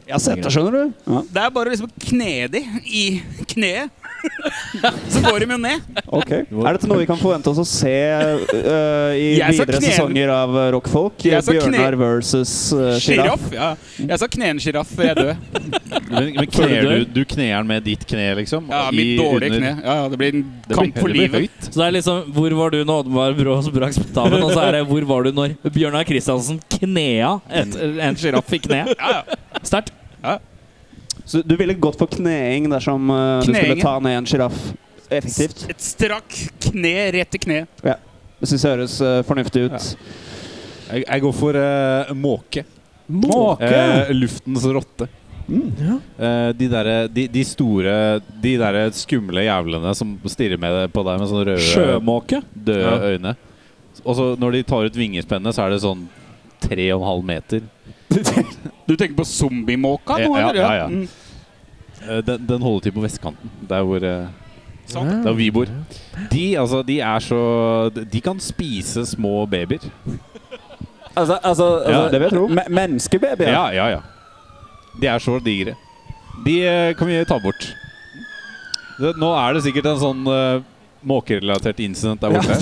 E: Jeg har sett det, skjønner du.
B: det er bare liksom å kne de i kneet. så går de jo ned.
E: Ok. Er dette noe vi kan forvente oss å se eh, i
B: Jeg sa
E: videre
B: kne-
E: sesonger av eh, Rockfolk?
B: Jeg sa kne-
E: Bjørnar versus eh, sjiraff.
B: Sjiraff. Ja. Jeg sa kne en sjiraff før jeg døde.
D: Men,
C: Føler
D: men kner
C: du
D: du,
C: det?
D: du kner den med ditt kne, liksom?
B: Ja,
D: I-
B: mitt dårlige
D: under-
B: kne. Ja, ja, det blir en
D: Det blir-
B: kamp for
D: det blir
B: livet.
D: høyt.
C: Så det er liksom Hvor var du når Oddvar Brå brakk staven? Og så er det Hvor var du når Bjørnar Kristiansen knea et, en sjiraff i kneet?
B: Ja,
C: Sterkt.
E: Så du ville gått for kneing dersom eh, du
B: Kneingen.
E: skulle ta ned en sjiraff effektivt?
B: Et strakk kne rett i kneet.
E: Det syns jeg høres eh, fornuftig ut.
D: Jeg, jeg går for eh, måke.
F: Måke.
D: Eh, luftens rotte. Eh, de, derre- de, de store, de derre skumle jævlene som stirrer med deg- på deg med sånne røde,
C: Sjømåke?
D: døde
C: Ja.
D: øyne. Og så når de tar ut vingespennet, så er det sånn tre og en halv meter.
B: Du tenker på zombiemåka nå,
D: Ja, ja,
B: eller?
D: ja, ja.
B: Mm.
D: Eh, den, den holder til på vestkanten, der hvor eh,
B: Sant.
D: der vi bor. De, altså, de er så De kan spise små babyer.
F: Altså, altså, altså
D: Ja, det
F: vil jeg tro. Me menneskebabyer.
D: Ja, ja, ja. De er så digre. De eh, kan vi ta bort. Det, nå er det sikkert en sånn eh, måkerelatert incident der borte.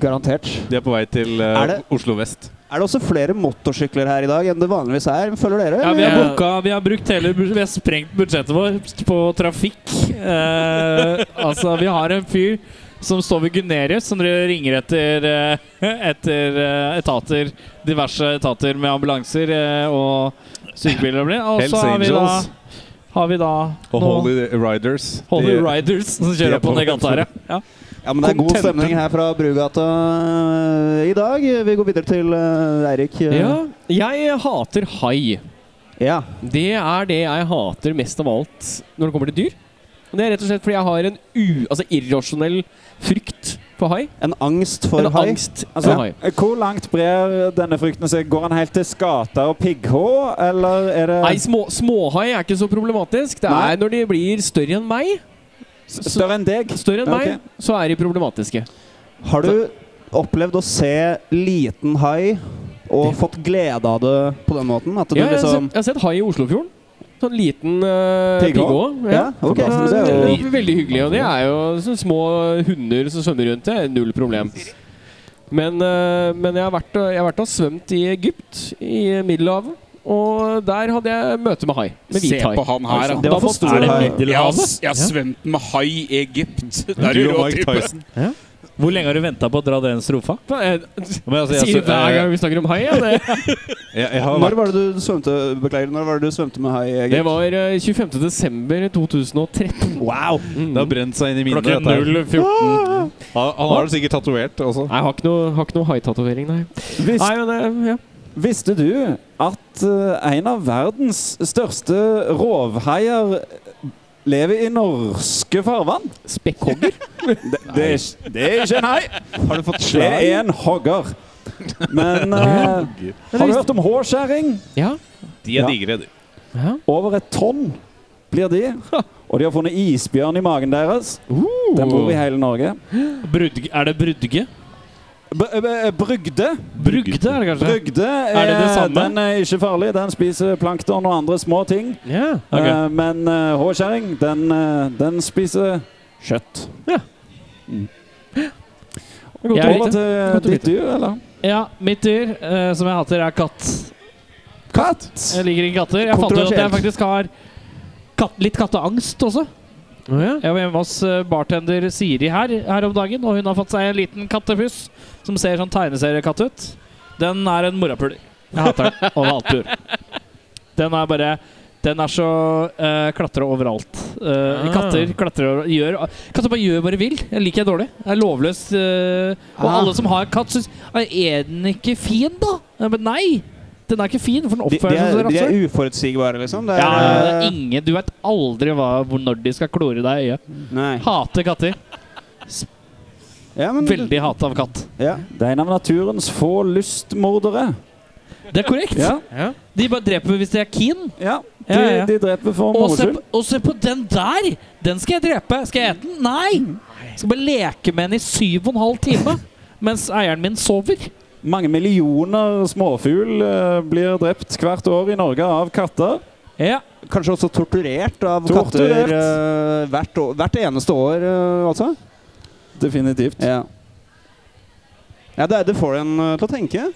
E: Garantert.
D: De er på vei til eh,
E: Er det-
D: Oslo vest.
E: Er det også flere motorsykler her i dag enn det vanligvis er? Følger dere?
C: Ja, vi
E: eller?
C: har, boka, vi har brukt hele bu- Vi har sprengt budsjettet vårt på trafikk. Eh, altså, vi har en fyr som står ved Gunerius, som dere ringer etter, eh, etter eh, etater, diverse etater med ambulanser eh, og sykebiler. og blir. Og
D: Hells
C: så har vi da,
D: Angels.
C: har vi da
D: Og
C: noe-
D: Holy Riders.
C: Holy
D: de,
C: Riders som
D: de
C: kjører
D: er
C: opp på
D: på-
C: den gata her. ja. Ja.
E: ja, men det er god
D: Contenten.
E: stemning her fra Brugata eh, i dag. Vi går videre til eh, Eirik. eh.
A: Ja, jeg hater hai.
E: ja.
A: Det er det jeg hater mest av alt når det kommer til dyr. Og det er rett og slett fordi jeg har en u... Altså irrasjonell frykt for hai.
E: En angst for
A: en
E: hai.
A: angst
F: Altså,
A: for hai.
F: Hvor langt brer denne frykten seg? Går han helt til skater og pigghå, eller er det
A: Nei, små, småhai er ikke så problematisk. Det
F: Nei.
A: er når de blir større enn meg,
F: s- større enn deg?
A: større enn
F: Ok.
A: meg, så er de problematiske.
E: Har du opplevd å se liten hai og fått glede av det på den måten? At du
A: Ja, altså, jeg, har
E: liksom
A: sett, jeg har sett hai i Oslofjorden. Sånn liten uh,
F: Piggå?
A: piggå.
E: Ja, ok.
A: Det er-
E: Så det er
A: det er veldig hyggelig. Og det er jo sånne små hunder som svømmer rundt. Det er null problem. Men, eh, men jeg har vært, og- jeg har vært og svømt i Egypt, i Middelhavet. Og der hadde jeg møte med hai. Med
B: Se
A: hvit hai.
B: på han her, da.
E: Det var for stor
C: Er det
E: hai.
B: Jeg har,
C: Middelhavet?
B: jeg har svømt med hai i Egypt. Det er
D: Du
B: jo
D: og
B: rå
D: Mike
B: type.
D: Tyson.
C: Hvor lenge har du venta på å dra den strofa?
A: Jeg
D: Men altså, jeg,
A: eh, Sier hver gang
D: jeg,
A: vi snakker om hai. Ja, det.
D: jeg, jeg har
E: Når var det du svømte Beklager, når var det du svømte med hai? Egil?
A: det var eh, 25. desember 2013.
E: Wow!
A: Mm.
D: det har brent seg inn i minnet.
C: Klokken
D: dette
C: 0.14.
D: her. Han, han har det sikkert tatovert også.
A: Nei, Jeg har ikke noe, har ikke noe haitatovering, nei.
F: Hvis,
A: Nei, men eh, ja.
F: visste du at eh, en av verdens største rovhaier lever i norske farvann.
A: Spekkhogger?
F: Det, det, er, ikke- det er ikke en hei.
D: Har du fått
F: Det
D: slag?
F: er en hogger. Men eh, har du hørt om hårskjæring?
A: Ja.
D: De
F: Ja.
D: er digre, de.
A: ja.
F: Over et tonn blir de. Og de har funnet isbjørn i magen deres. Den bor i hele Norge.
C: Brudg- er det brudge?
F: B b brygde.
C: Brugde, er det kanskje?
F: Brygde er,
C: Er det det samme?
F: Den er ikke farlig. Den spiser plankton og andre små ting.
A: ja.
C: Ok.
F: Eh, men eh, hårskjæring, den, eh, den spiser kjøtt. Mm.
A: Godt å
F: Over
A: vite.
F: til
A: Godt å
F: ditt dyr, eller?
C: Ja, mitt dyr eh, som jeg hater, er katt.
F: Katt!
C: Jeg liker ikke katter. Jeg fant ut at jeg
F: Kontroversielt.
C: faktisk har katt, litt katteangst også.
A: Å, ja.
C: Jeg var hjemme hos eh, bartender Siri her, her om dagen, og hun har fått seg en liten kattepuss som ser sånn tegneseriekatt ut. Den er en morapuler. Jeg hater den over alt bur. Den er bare Den er så uh, klatra overalt. Eh,
A: Ah.
C: Katter klatrer over gjør, Katter bare gjør hva de vil. Jeg liker jeg dårlig. Jeg er lovløs. eh, og
E: Ah.
C: alle som har katt, syns Er den ikke fin, da? Ja, Men nei! Den er ikke fin, for den
E: De, de,
C: oppfører seg
E: er,
C: som et
E: de
C: rasshøl.
E: er uforutsigbare, liksom. Det er,
C: Ja, det er
E: eh,
C: ingen, du vet aldri hva, hvor når de skal klore deg i øyet.
E: Nei.
C: Hater katter.
E: Ja, men,
C: Veldig hat av katt.
E: Ja.
F: Det er en av naturens få lystmordere.
C: Det er korrekt.
F: Ja,
A: Ja.
C: De bare dreper hvis de er keen.
F: ja. De,
C: Ja, ja.
F: de dreper for
C: Og
F: moro
C: se,
F: skyld.
C: på- og se på den der! Den skal jeg drepe. Skal jeg ete den? Nei! Jeg skal bare leke med den i syv og en halv time mens eieren min sover.
F: Mange millioner småfugl eh, blir drept hvert år i Norge av katter.
C: Ja.
E: Kanskje også torturert av
F: Torturert.
E: katter eh, hvert, år, hvert eneste år, eh, altså.
F: Definitivt.
E: Ja. ja, det, det får en eh, til å tenke.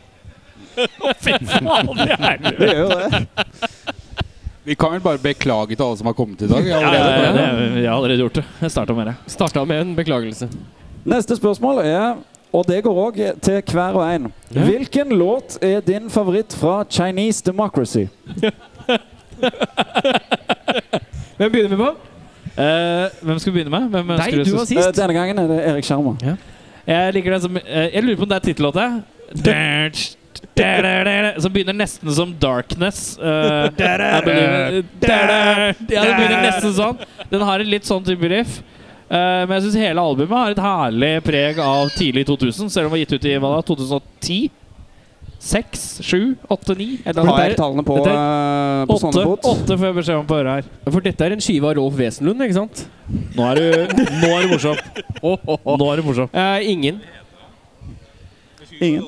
E: Det gjør jo det.
B: Vi kan vel bare beklage til alle som har kommet i dag.
C: Ja,
B: allerede.
C: ja, ja, jeg har allerede gjort det. Jeg starta med det.
A: Starta med en beklagelse.
F: Neste spørsmål er, og det går òg til hver og en
A: Ja.
F: Hvilken låt er din favoritt fra Chinese Democracy?
A: Hvem begynner vi på?
C: Eh, hvem skal vi begynne med? Hvem ønsker
A: Deg, du var
C: sist?
F: Eh,
A: sist.
F: denne gangen er det Erik Sjarma.
C: Jeg liker det som eh, Jeg lurer på om det er tittellåta. Som begynner nesten som Darkness. eh, jeg believe- Ja, det begynner nesten sånn. Den har en litt sånn type riff. Eh, men jeg syns hele albumet har et herlig preg av tidlig 2000, selv om det var gitt ut i hva da, 2010? 6, 7, 8, 9? Et eller
E: Har
C: annet
E: jeg
C: der.
E: tallene på,
C: dette er
E: eh, på
C: Åtte,
E: sånne fot?
C: åtte får jeg beskjed om på øret her.
A: For dette er en skive av Rolf Wesenlund, ikke sant?
C: Nå er du, nå er du morsom.
A: Oh, oh, oh.
C: Nå er du morsom.
A: Eh, ingen.
F: Ingen.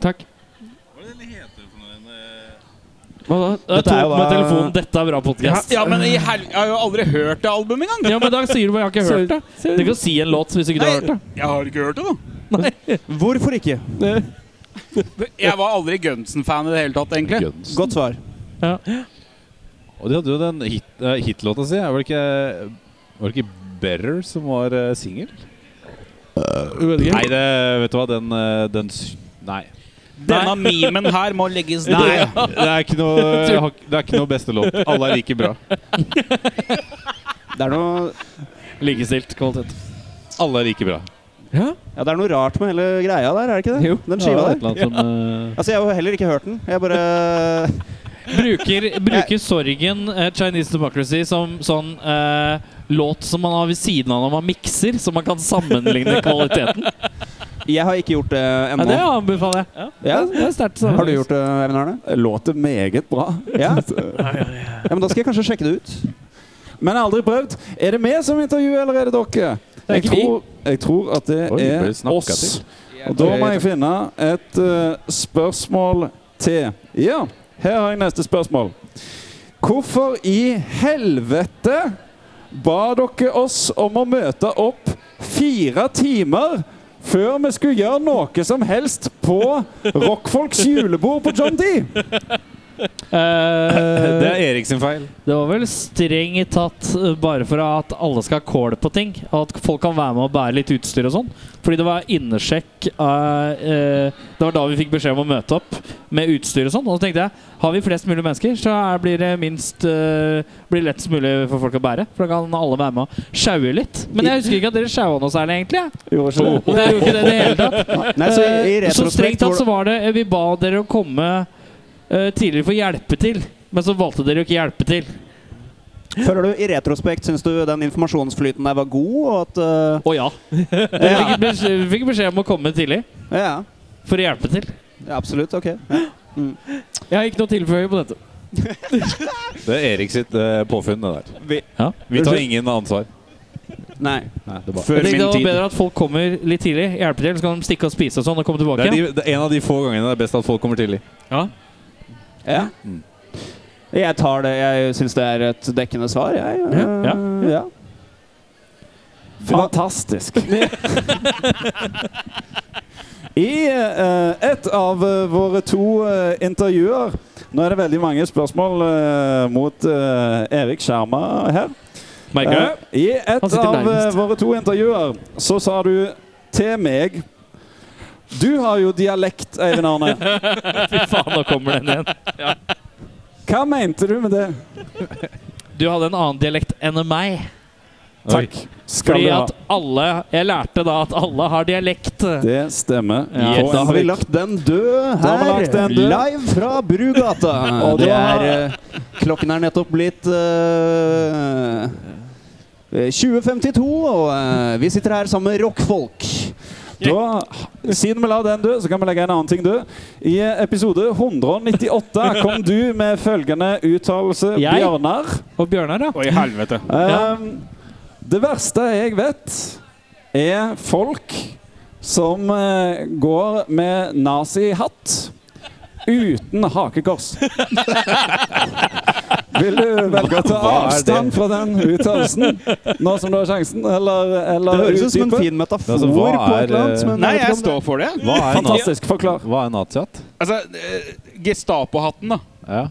A: Takk. Hva da?
C: Det er
E: Dette er
C: to
E: jo
C: med
E: da-
C: telefonen. Dette er bra podkast.
B: Ja, men i hel... Jeg har jo aldri hørt det albumet engang!
C: Ja, men da sier du bare 'jeg har ikke hørt det'. Du kan si en låt hvis ikke du har hørt det.
B: Jeg har ikke hørt det, da.
E: Hvorfor ikke?
B: Jeg var aldri Gunsen-fan i det hele tatt, egentlig.
D: Guns.
E: Godt svar.
D: Og de hadde jo den hit, eh, hitlåta si. Var det ikke, var det ikke Better som var uh, singel? Nei, det, vet du hva, den, eh, den s- Nei.
B: Denne memen her må legges
D: Nei,
B: ned.
D: det er ikke noe, jeg har ikke- det er ikke noe beste låt. Alle er like bra.
E: Det er noe
C: Likestilt kvalitet.
D: Alle er like bra.
A: Ja?
E: Ja, det er noe rart med hele greia der, er det ikke det?
A: Jo.
E: Den skiva
D: Ja, et
E: der.
D: eller annet som, eh,
E: Altså, jeg har heller ikke hørt den. Jeg bare
C: Bruker, bruker sorgen eh, Chinese Democracy som sånn eh, låt som man har ved siden av når man mikser, så man kan sammenligne kvaliteten?
E: Jeg har ikke gjort det
C: Ja,
E: ennå.
C: det anbefaler jeg.
E: Ja.
C: Det er sterkt
E: Har du gjort det, Even Arne?
F: Låter meget bra.
E: Ja? ja, men da skal jeg kanskje sjekke det ut.
F: Men jeg har aldri prøvd. Er det meg som intervjuer, eller er det dere?
A: er
F: Jeg
A: ikke vi.
F: tror, jeg tror at det
D: Oi,
F: er
D: ble snakket
F: oss.
D: til.
F: Og da må jeg finne et eh, spørsmål til. Ja, her har jeg neste spørsmål. Hvorfor i helvete ba dere oss om å møte opp fire timer før vi skulle gjøre noe som helst på rockfolks julebord på John D?
C: Eh,
D: Eh, Det er Erik sin feil.
C: det var vel strengt tatt eh, bare for at alle skal ha kål på ting, og at folk kan være med og bære litt utstyr og sånn. Fordi det var innesjekk eh, eh, Det var da vi fikk beskjed om å møte opp med utstyr og sånn. Og så tenkte jeg har vi flest mulig mennesker, så er, blir det minst eh, Blir det lettest mulig for folk å bære. For da kan alle være med og sjaue litt. Men jeg husker ikke at dere sjaua noe særlig, egentlig. jeg.
F: Gjorde ikke det?
C: Og det er jo ikke det i det hele tatt.
E: Nei, så, i
C: Eh, så strengt
E: retrospekt,
C: tatt så
E: hvor,
C: var det eh, Vi ba dere å komme eh, tidligere for å hjelpe til, men så valgte dere å ikke hjelpe til.
E: Føler du i retrospekt, syns du den informasjonsflyten der var god, og at eh,
C: Å ja. Jeg fikk beskjed, fikk beskjed om å komme tidlig
E: ja,
C: for å hjelpe til.
E: ja, absolutt. Ok. Ja.
A: Jeg har ikke noe å tilføye på dette.
D: Det er Erik sitt eh, påfunn, det der.
E: Vi,
D: Vi tar ingen ansvar.
E: nei.
D: Nei, det er bare.
B: Før
C: Jeg tenkte
B: min
C: det var
B: tid.
C: bedre at folk kommer litt tidlig, hjelper til, så kan de stikke og spise og sånn og komme tilbake.
D: Det er, de, det er en av de få gangene det er best at folk kommer tidlig.
E: Ja.
C: Mm.
E: Jeg tar det. Jeg syns det er et dekkende svar, jeg. Eh,
C: Ja.
E: ja.
F: Fantastisk. I eh, et av eh, våre to eh, intervjuer Nå er det veldig mange spørsmål eh, mot eh, Erik Skjerma her.
C: Merker du?
F: Eh, I
A: Han
F: et
A: sitter
F: av eh,
A: nærmest.
F: våre to intervjuer så sa du til meg Du har jo dialekt, Eivind Arne.
C: Fy faen, nå kommer den igjen.
F: Hva mente du med det?
C: Du hadde en annen dialekt enn meg.
F: Takk skal
C: Fordi
F: du ha.
C: at alle Jeg lærte da at alle har dialekt.
F: Det stemmer.
C: Ja.
F: På
E: Da har vi
F: Henrik.
E: lagt den død
F: Da har vi
E: her,
F: lagt den død.
E: live fra Brugata.
F: Og
E: det
F: da-
E: er eh, Klokken er nettopp blitt eh, eh, 20.52, og eh, vi sitter her sammen med rockfolk.
F: Da, siden vi la den dø, så kan vi legge en annen ting død. I episode 198 kom du med følgende uttalelse,
C: Jeg?
F: Bjørnar.
C: Og Bjørnar, ja.
B: Oi, helvete.
F: Ehm, Det verste jeg vet, er folk som eh, går med nazihatt uten hakekors. Vil du velge å
D: Hva er
F: ta
D: det?
F: avstand fra den uttalelsen nå som du har sjansen, eller,
E: Det
F: eller
E: høres ut som en
F: utdype?
E: fin metafor
D: Altså, hva
E: på
D: er,
E: et eller annet.
D: eh,
E: Men
B: Nei,
E: vet ikke
B: jeg
E: om det-
B: står for det.
D: Hva er en nazi-
F: Fantastisk. Forklar.
D: hva er en nazihatt?
B: Altså, eh, Gestapo-hatten, da.
D: Ja.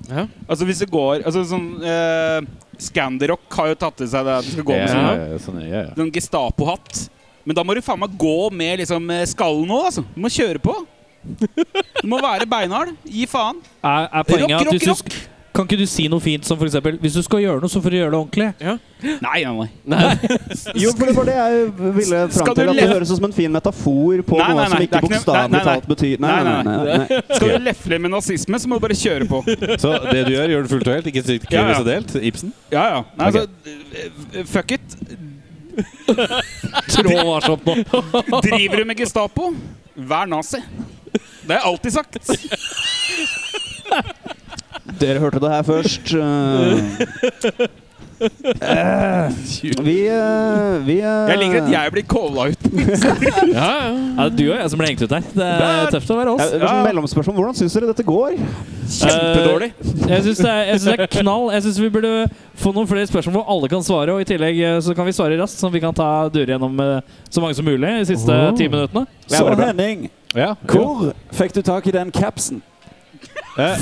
B: Altså hvis det går altså sånn eh, Scandirock har jo tatt til seg det at du skal gå med
D: Ja,
B: sånn,
D: ja, ja, sånn, ja, ja.
B: sånn Gestapo-hatt. Men da må du faen meg gå med liksom eh, skallen òg, altså. Du må kjøre på. Du må være beinhard. Gi faen.
C: Er, er
B: Rock,
C: poenget at
B: rock,
C: hvis du
B: rock!
C: Kan ikke du si noe fint som f.eks.: Hvis du skal gjøre noe, så får du gjøre det ordentlig.
B: Nei, nei, nei.
E: Jo, for det var det jeg ville fram
B: Skal
E: til.
B: du
E: At det
B: le-
E: høres ut som en fin metafor på
B: Nei, nei,
E: noe som
B: nei, det er
E: ikke
B: ikke noe- nei,
E: bokstavelig
B: nei, nei.
E: talt betyr Nei, nei,
B: Nei, nei,
E: nei. nei, nei.
B: Skal du lefle med nazisme, så må du bare kjøre på.
D: Så det du gjør, gjør du fullt og helt? Ikke strikt
B: Ja, ja.
D: kryss og delt? Ibsen?
B: Ja, ja. Nei,
D: Ok.
B: altså, eh, fuck it.
C: Trå varsomt nå.
B: Driver du med Gestapo, vær nazi. Det har jeg alltid sagt.
E: Dere hørte det her først. eh. Eh, vi eh, vi eh,
B: Jeg liker at jeg blir calla ut.
C: Ja, ja. det er du og jeg som ble hengt ut her. Det er tøft å være
E: Ja,
C: oss.
E: det var sånn Mellomspørsmål. Hvordan syns dere dette går?
B: Kjempedårlig.
C: Jeg syns det, er- jeg synes det er knall. Jeg syns vi burde få noen flere spørsmål hvor alle kan svare. Og i tillegg eh, så kan vi svare raskt, sånn at vi kan ta dure gjennom eh, så mange som mulig de siste ti minuttene.
F: Så Henning,
D: Ja.
F: hvor fikk du tak i den capsen?
D: Eh,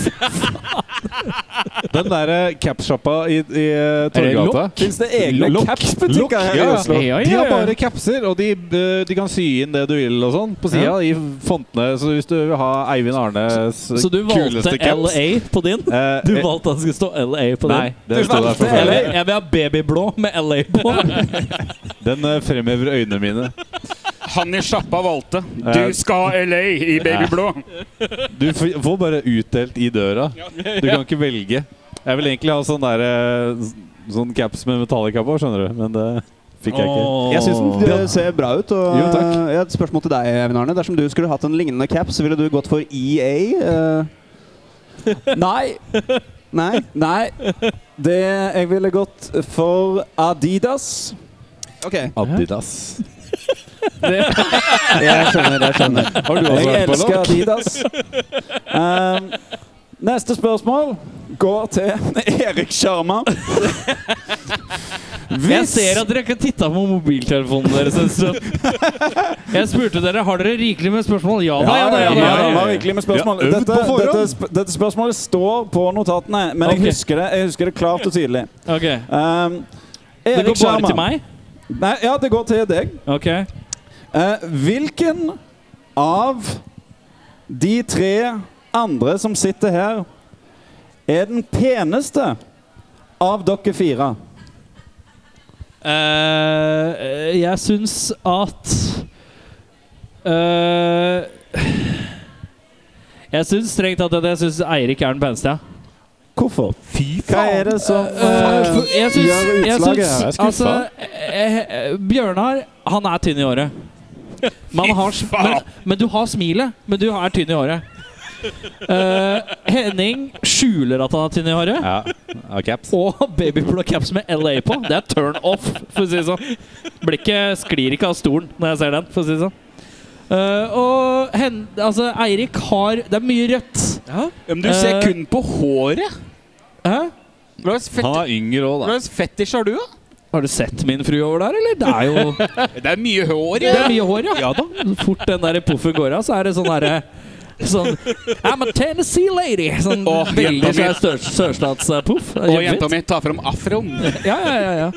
D: Den der capsjappa i, i eh, Torgata
F: Fins det egne
D: Lokk.
F: capsbutikker her i
D: ja.
F: Oslo?
A: Ja,
D: De har bare capser, og de, eh, de kan sy inn det du vil og sånn på sida. I fontene. Så hvis du vil ha Eivind Arnes
C: Så du valgte
D: kuleste caps
C: LA på din?
D: eh,
C: Du
D: eh,
C: valgte at det skulle stå LA på
D: Nei,
C: din?
D: det sto der for
C: Jeg
D: feil.
C: vil, jeg vil ha babyblå med LA på.
D: Den eh, fremhever øynene mine.
B: Han i sjappa valgte.
D: Eh.
B: Du skal ha LA i babyblå.
D: Du f- får bare utdelt i døra. Du kan ikke velge. Jeg vil egentlig ha sånn der eh, s- Sånn caps med Metallica på, skjønner du, men det fikk jeg ikke.
E: Jeg syns den eh, ser bra ut. Og
D: Jo, takk.
E: eh, jeg har et spørsmål til deg, Even Arne. Dersom du skulle hatt en lignende cap, så ville du gått for EA? eh,
F: Nei.
E: nei?
F: Nei. Det jeg ville gått for Adidas.
E: Ok.
D: Adidas.
E: Jeg skjønner. jeg skjønner
D: Har du også
F: Jeg
D: vært på
F: elsker
D: lokk?
F: Adidas. Um, neste spørsmål går til Erik Sjarma.
C: Jeg
F: Hvis
C: ser at dere ikke titta på mobiltelefonen deres en stund. Jeg spurte dere har dere rikelig med spørsmål. Ja da, ja da. ja da, ja da.
F: det var virkelig med spørsmål.
D: Ja, øvd
F: Dette,
D: på forhånd.
F: dette, sp- dette spørsmålet står på notatene, men
C: Ok.
F: jeg, husker det, jeg husker det klart og tydelig.
C: Ok.
F: Um,
C: Det
F: Erik
C: går bare
F: Sjarma.
C: til meg?
F: Nei, ja, det går til deg.
C: Ok.
F: Eh, hvilken av de tre andre som sitter her, er den peneste av dere fire?
C: Eh, jeg syns at eh, Jeg syns strengt tatt at jeg syns Eirik er den peneste, ja.
F: Hvorfor?
D: Fy
F: Hva er det som
C: Eh,
F: eh,
C: jeg syns,
F: gjør
C: jeg
F: utslaget?
C: syns
F: Jeg er skuffa.
C: altså, eh, eh, Bjørnar, han er tynn i håret. Men, han har, s- men, men du har smilet, men du er tynn i håret. Eh, Henning skjuler at han er tynn i håret.
D: Ja. ja, caps.
C: Og babyblå caps med LA på. Det er turn off, for å si det sånn. Blikket sklir ikke av stolen når jeg ser den, for å si det sånn. Eh, og hen, altså, Eirik har Det er mye rødt.
B: Ja, men du ser
C: Eh.
B: kun på håret.
C: Hæ?
B: Hva slags
D: Han
B: fet-
D: er yngre òg,
B: hva
D: da.
B: slags fetisj har du, da?
C: Har du sett min frue over der, eller? Det er jo
B: Det er mye hår.
C: Det
B: Ja.
C: er mye hår, ja. Fort den der puffen går av, så er det sånn herre Sånn I'm a Tennessee lady! Sånn
B: Å,
C: veldig
B: jenta mi.
C: svær sør- sørstatspuff. Det er
B: Og
C: kjempefint.
B: jenta mi tar fram afroen.
C: Ja, ja, ja, ja.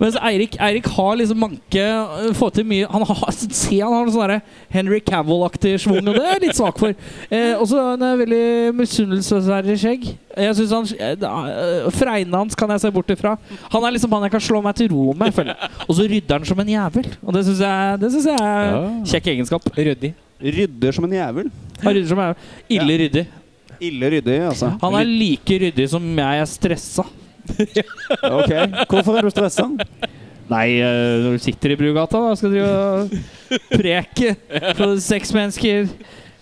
C: Mens Eirik, Eirik har liksom manke øh, Får til mye Han har, se, han har noe sånn derre Henry Cavill-aktig schwung, og det er jeg litt svak for. Eh, også en eh, veldig misunnelsesverdig skjegg. Jeg synes han eh, da- eh, Fregnene hans kan jeg se bort ifra. Han er liksom han jeg kan slå meg til ro med, føler jeg. Og så rydder han som en jævel. Og det syns jeg, det synes jeg er
D: Ja.
C: kjekk egenskap.
A: Ryddig.
E: Rydder som en jævel.
C: Han rydder som en jævel. Ille ryddig.
E: Ille ryddig, altså.
C: Han er like ryddig som jeg er stressa.
F: Ok, Hvorfor er du stressa?
C: Nei, eh, når du sitter i Brugata, da skal du jo preke for seks mennesker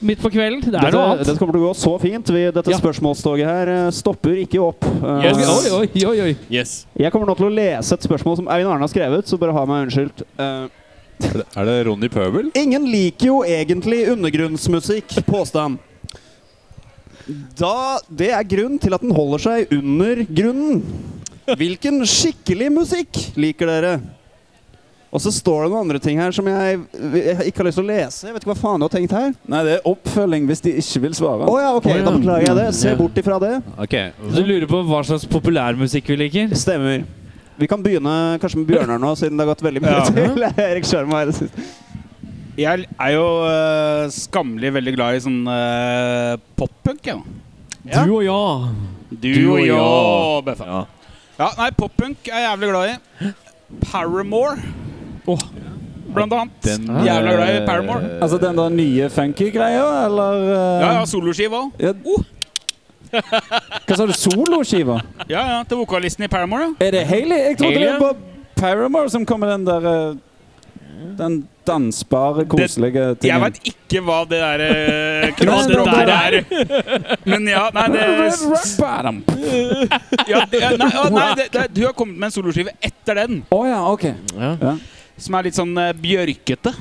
C: midt på kvelden. Det er
E: Dette,
C: noe annet.
E: dette kommer til å gå så fint. Vi, dette
C: Ja.
E: spørsmålstoget her eh, stopper ikke opp. Eh,
C: Oi, oi, oi, oi, oi.
D: Yes.
E: Jeg kommer nå til å lese et spørsmål som Eivind Arne har skrevet, så bare ha meg unnskyldt. Eh,
D: Er det- Er det Ronny Pøbel?
E: Ingen liker jo egentlig undergrunnsmusikk, påstand. Da det er grunn til at den holder seg under grunnen. Hvilken skikkelig musikk liker dere? Og så står det noen andre ting her som jeg, jeg ikke har lyst til å lese. Jeg vet ikke hva faen du har tenkt her.
F: Nei, det er oppfølging hvis de ikke vil svare.
E: Å ja, Mm, ok, da beklager jeg det. Se bort ifra det.
D: Ok.
C: Du lurer på hva slags populærmusikk vi liker?
E: Stemmer. Vi kan begynne kanskje med Bjørnar nå, siden det har gått veldig mye
B: Ja.
E: til Erik Sjarma her i det siste.
B: Jeg er jo eh, skammelig veldig glad i sånn eh, poppunk, jeg. da.
E: Ja.
A: Du og ja.
B: Du,
D: og
B: og
D: jeg.
B: jeg, Beffa.
D: Ja.
B: Ja, nei, poppunk er jeg jævlig glad i. Paramore. Blant annet.
D: Den,
B: jævlig glad i
D: eh,
B: Paramore.
F: Altså den der nye funky-greia, eller eh,
B: Ja, ja, soloskive òg.
F: ja.
E: Oh.
F: Hva sa du? Soloskiva?
B: Ja, ja, til vokalisten i Paramore. ja.
F: Er det Hailey? Jeg trodde
C: Hailey,
F: det var Paramore som kom med den der eh, Den dansbare, koselige
B: Jeg
F: tingen.
B: veit ikke hva det der eh,
F: Nei, det
B: kroppsspråket
F: der
B: der er. Men ja, nei, det,
F: Rock bottom.
B: ja, det, nei, ja, nei det, det, Du har kommet med en soloskive etter den,
F: Å ja, OK.
B: som er litt sånn eh, bjørkete.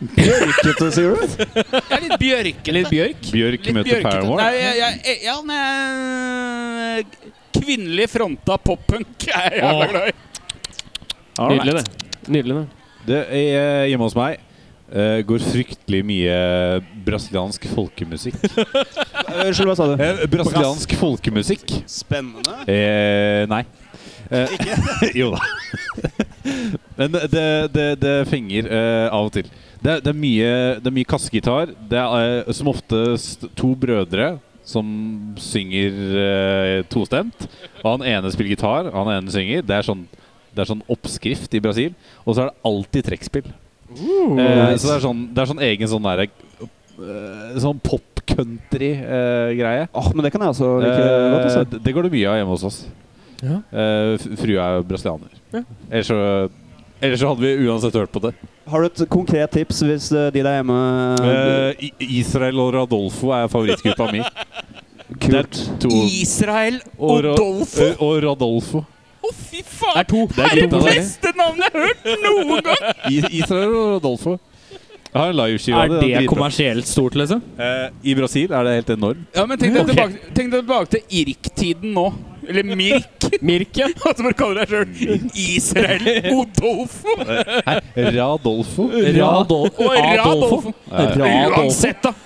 E: Bjørkete, sier du?
B: Jeg er litt bjørkete.
A: Litt bjørk.
D: Bjørk
B: Litt
D: møter Paramore.
B: Nei, jeg, jeg, jeg, ja, men jeg- Kvinnelig fronta poppunk er jeg jævla glad i.
D: All right.
A: Nydelig, det. Nydelig, det.
D: Det er hjemme hos meg. eh, går fryktelig mye brasiliansk folkemusikk.
E: Unnskyld, hva sa du?
D: Eh, brasiliansk folkemusikk?
E: Spennende.
D: Eh, nei. Eh, jo da. Men det, det, det, det fenger eh, av og til. Det, er- det, er mye, det er mye kassegitar. Det er eh, som oftest to brødre som synger eh, tostemt. Og han ene spiller gitar, han ene synger. Det er sånn, det er sånn oppskrift i Brasil. Og så er det alltid trekkspill. Eh,
E: nice.
D: Så det er sånn, det er sånn egen sånn derre eh, Sånn eh, pop-country-greie.
E: Åh, men det kan jeg også like godt.
D: Eh,
E: Altså.
D: det- det går det mye av hjemme hos oss.
A: Ja.
D: Eh, f- Frua er brasilianer.
A: Ja.
D: Ellers, så, ellers så hadde vi uansett hørt på det.
E: Har du et konkret tips hvis eh, de der hjemme
D: Eh, I- Israel og Radolfo er favorittgruppa mi.
E: Kult.
D: To
B: Israel
D: og, Ra-
B: Odolfo.
D: eh, og Radolfo.
B: Å, fy faen!
A: to.
D: Det er
B: Det
D: gruppa deres.
B: beste navnet jeg har hørt noen gang!
D: I- Israel og Rodolfo. Jeg har en
C: Er
D: liveskive av det.
C: det
D: den er dritbra.
C: kommersielt stort, liksom?
D: Eh, I Brasil er det helt enormt.
B: Ja, men Tenk deg
C: Ok.
B: tilbake, tenk deg tilbake til irk-tiden nå. Eller Mirk.
A: Mirke.
B: Og så bare kaller deg sjøl Israel Odolfo.
D: Radolfo.
C: Radol
B: Og Radolfo.
C: Radolf.
B: Uansett, da.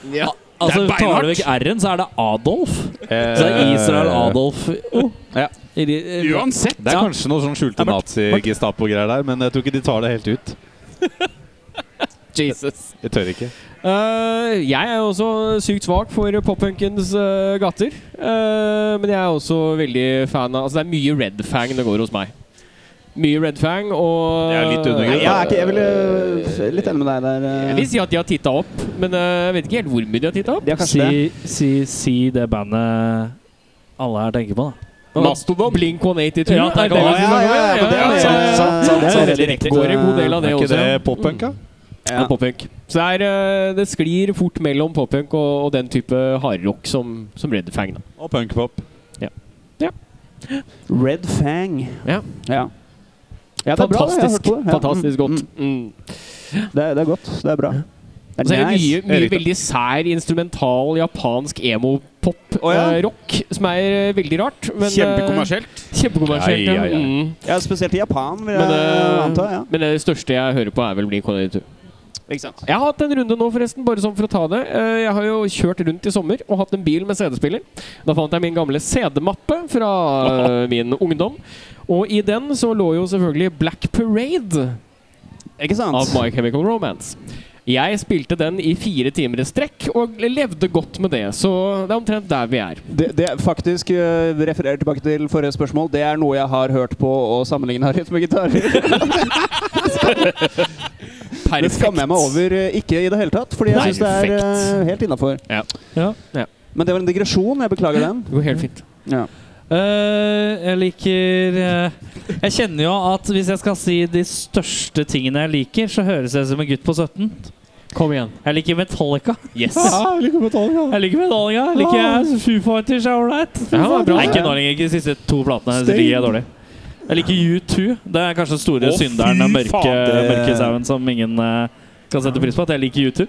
C: Altså, tar du
B: Det er beinhardt.
C: vekk R-en, så er det Adolf.
D: Eh,
C: Så det er Israel Adolf oh.
D: Ja.
C: I de- eh,
B: Uansett.
D: Det er
C: Ja.
D: kanskje noe sånn skjulte nazi-gestapo-greier der, men jeg tror ikke de tar det helt ut.
A: Jesus.
D: Jeg tør ikke.
A: Eh, jeg er jo også sykt svak for poppunkens eh, gater. Eh, men jeg er også veldig fan av Altså, det er mye Red Fang det går hos meg. Mye Red Fang og
D: Det er litt undergrunn,
A: Nei,
D: da.
E: Ja, jeg er ikke, jeg vil eh, litt enig med deg der. eh.
A: Jeg vil si at de har titta opp, men eh, jeg vet ikke helt hvor mye de har titta opp.
E: De har kanskje det.
C: Si, si, si det bandet alle her tenker på, da.
B: Mastodon.
A: Blink 182.
C: Ja,
A: er
C: takk,
A: det
C: det
A: det
C: var-
A: vi
E: ja,
A: snakker om?
E: ja, ja, det er- sant, sant,
A: Så
E: sant.
A: det går en god del av det
D: Er ikke
A: også.
D: det poppunk, da?
A: Ja. Poppunk. Så det, er, eh, det sklir fort mellom poppunk og, og den type hardrock som, som Red Fang. Da.
D: Og punkpop.
E: Red Fang.
A: Ja.
E: ja. Ja, det er bra, det. Jeg har hørt
A: Fantastisk.
E: på det. Ja,
A: Fantastisk
E: mm,
A: godt. Mm.
E: mm. Det, er- det er godt. Det er bra.
A: Og så er det mye, mye
D: Erik, da.
A: veldig sær instrumental japansk emo-pop-rock,
E: ja.
A: som er eh, veldig rart. Men, eh,
B: Kjempekommersielt.
A: Kjempekommersielt.
D: Ja, ja, ja.
A: Mm.
E: Ja, spesielt i Japan, vil jeg
A: Men, eh,
E: anta. ja.
A: men det største jeg hører på, er vel Blink 182.
E: Ikke sant?
A: Jeg har hatt en runde nå, forresten, bare sånn for å ta det. Eh, Jeg har jo kjørt rundt i sommer og hatt en bil med CD-spiller. Da fant jeg min gamle CD-mappe fra eh, min ungdom. Og i den så lå jo selvfølgelig Black Parade
E: Ikke sant?
A: av My Chemical Romance. Jeg spilte den i fire timer i strekk og levde godt med det. Så det er omtrent der vi er.
E: Det, det er faktisk øh, refererer tilbake til forrige spørsmål. Det er noe jeg har hørt på og sammenligna med gitarer. Det skammer jeg meg over øh, ikke i det hele tatt, fordi jeg syns det er
A: Perfekt.
E: øh, helt innafor.
C: Ja.
E: Men det var en digresjon. Jeg beklager den.
A: Det går helt fint.
E: Ja.
C: Eh, jeg liker eh, Jeg kjenner jo at hvis jeg skal si de største tingene jeg liker, så høres jeg ut som en gutt på 17.
A: Kom igjen.
C: Jeg liker Metallica.
A: Yes.
D: Ja, jeg liker Metallica.
C: Jeg liker Metallica. Jeg liker Foo Fighters. er ålreit.
A: Ja, det er bra.
C: Nei, ikke nå lenger. Ikke de siste to platene.
D: Sting.
C: De er dårlige. Jeg liker U2. Det er kanskje den store
B: Å, fy
C: synderen av mørke,
B: fader.
C: mørke sauen som ingen eh, kan sette pris på. At jeg liker U2.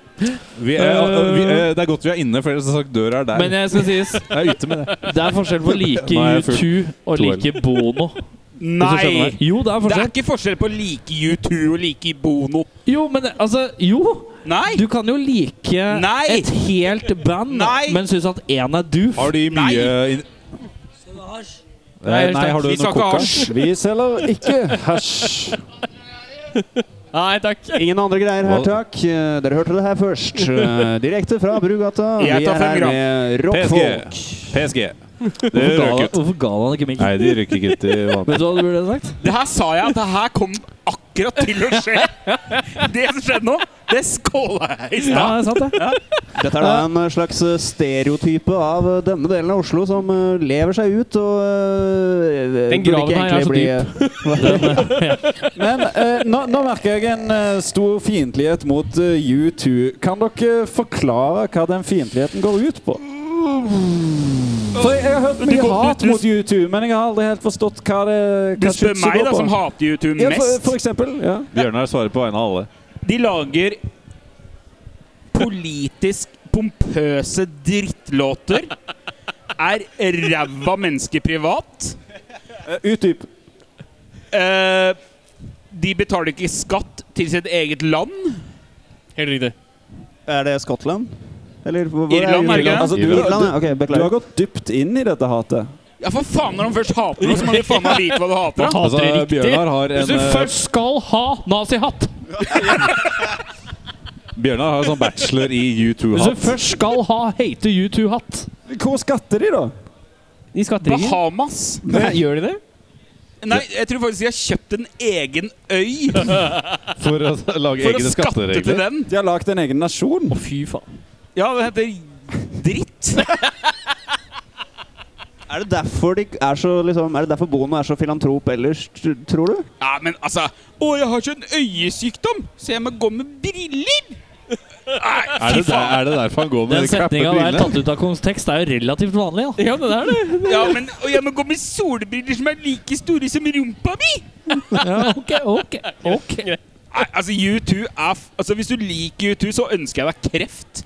D: Vi er, vi er, det er godt vi er inne, for ellers hadde sagt døra er der.
C: Øh, Men jeg skal sies,
D: jeg er ute med det.
C: det er forskjell på å like
D: Nå er jeg full.
C: U2 og
D: To øl.
C: like Bono.
B: eh,
C: Hvis du skjønner
B: Nei!
C: meg. Jo, det er
B: Det er
C: forskjell.
B: ikke forskjell på å like U2 og like Bono.
C: Jo, men det- altså Jo!
B: Nei!
C: Du kan jo like
B: Nei!
C: et helt band,
B: Nei!
C: men synes at én er doof.
D: Har de mye in... Nei,
A: Nei,
D: nei, har du
B: Vi
D: noe
B: skal ikke ha
D: coca?
B: hasj.
F: Vi selger ikke hasj.
C: Nei takk.
E: Ingen andre greier her,
D: Hva-
E: takk. Eh, Dere hørte det her først. Eh, Direkte fra Brugata. Vi
B: Jeg
E: er
B: tar fem
E: her
B: gram.
E: med rockfolk.
D: PSG. PSG. Det
C: Hvorfor ga,
D: røk ut.
C: hvorfor ga han ikke mikken?
D: Nei, de røk ikke ut i vann.
C: Vet du hva du burde sagt?
B: Det her sa jeg at det her kom akkurat til å skje. Det som skjedde nå, det skåla jeg i
C: Ja, det
B: stad.
C: er sant, det.
E: Dette er da en eh, slags eh, stereotype av eh, denne delen av Oslo som eh, lever seg ut og eh,
A: Den
E: burde
A: graven
E: ikke
A: her er altså
E: egentlig
A: så
E: bli- eh,
F: Men eh, nå, nå merker jeg en eh, stor fiendtlighet mot eh, U2. Kan dere eh, forklare hva den fiendtligheten går ut på? For jeg har hørt mye hat mot U2, men jeg har aldri helt forstått hva det
B: Du
F: hva
B: spør
F: skytset
B: meg,
F: går
B: da,
F: på.
B: som hater U2
F: ja, for,
B: mest.
F: for eksempel. Ja.
D: Bjørnar svarer på vegne av alle.
B: De lager politisk pompøse drittlåter. Er ræva menneske privat.
F: Utdyp.
B: Eh, de betaler ikke skatt til sitt eget land.
C: Helt riktig.
E: Er det Skottland? Eller hvor hvor
B: Irland, er det ikke?
F: Altså,
B: det?
F: du,
E: Irland,
F: du,
E: ja. Ok,
F: du har
E: beklager.
F: gått dypt inn i dette hatet.
B: Ja, for faen, når de først hater noe, så må de faen meg vite hva du hater. da.
D: Altså,
C: riktig.
D: Bjørnar har
C: Hvis
D: en
C: du
D: eh,
C: først skal ha nazihatt,
D: Bjørnar har en sånn bachelor i
C: hvis du
D: U2-hatt.
C: først skal ha hate U2-hatt
F: Hvor skatter de, da?
A: De skatter ikke.
B: Bahamas.
A: Gjør de det?
B: Nei, jeg tror faktisk de har kjøpt en egen øy for
D: For å lage
B: å
D: egne
B: skatte til
D: skatteregler.
B: den.
F: De har lagd en egen nasjon.
C: Å, fy faen.
B: Ja, det heter dritt.
E: Er det derfor de er så liksom, Er det derfor Bono er så filantrop ellers, tr- tror du?
B: Ja, men altså Å, jeg har ikke en øyesykdom, så jeg må gå med briller! Nei,
D: Er det, der, er det derfor han går med
C: Den
D: de klappe
C: setninga der
D: brillene?
C: tatt ut av kontekst er jo relativt vanlig, da.
A: Ja, det er det.
B: ja, men Og jeg må gå med solbriller som er like store som rumpa mi!
C: Ja, ok, ok, ok.
B: Nei, altså, U2 er f Altså, Hvis du liker U2, så ønsker jeg deg kreft.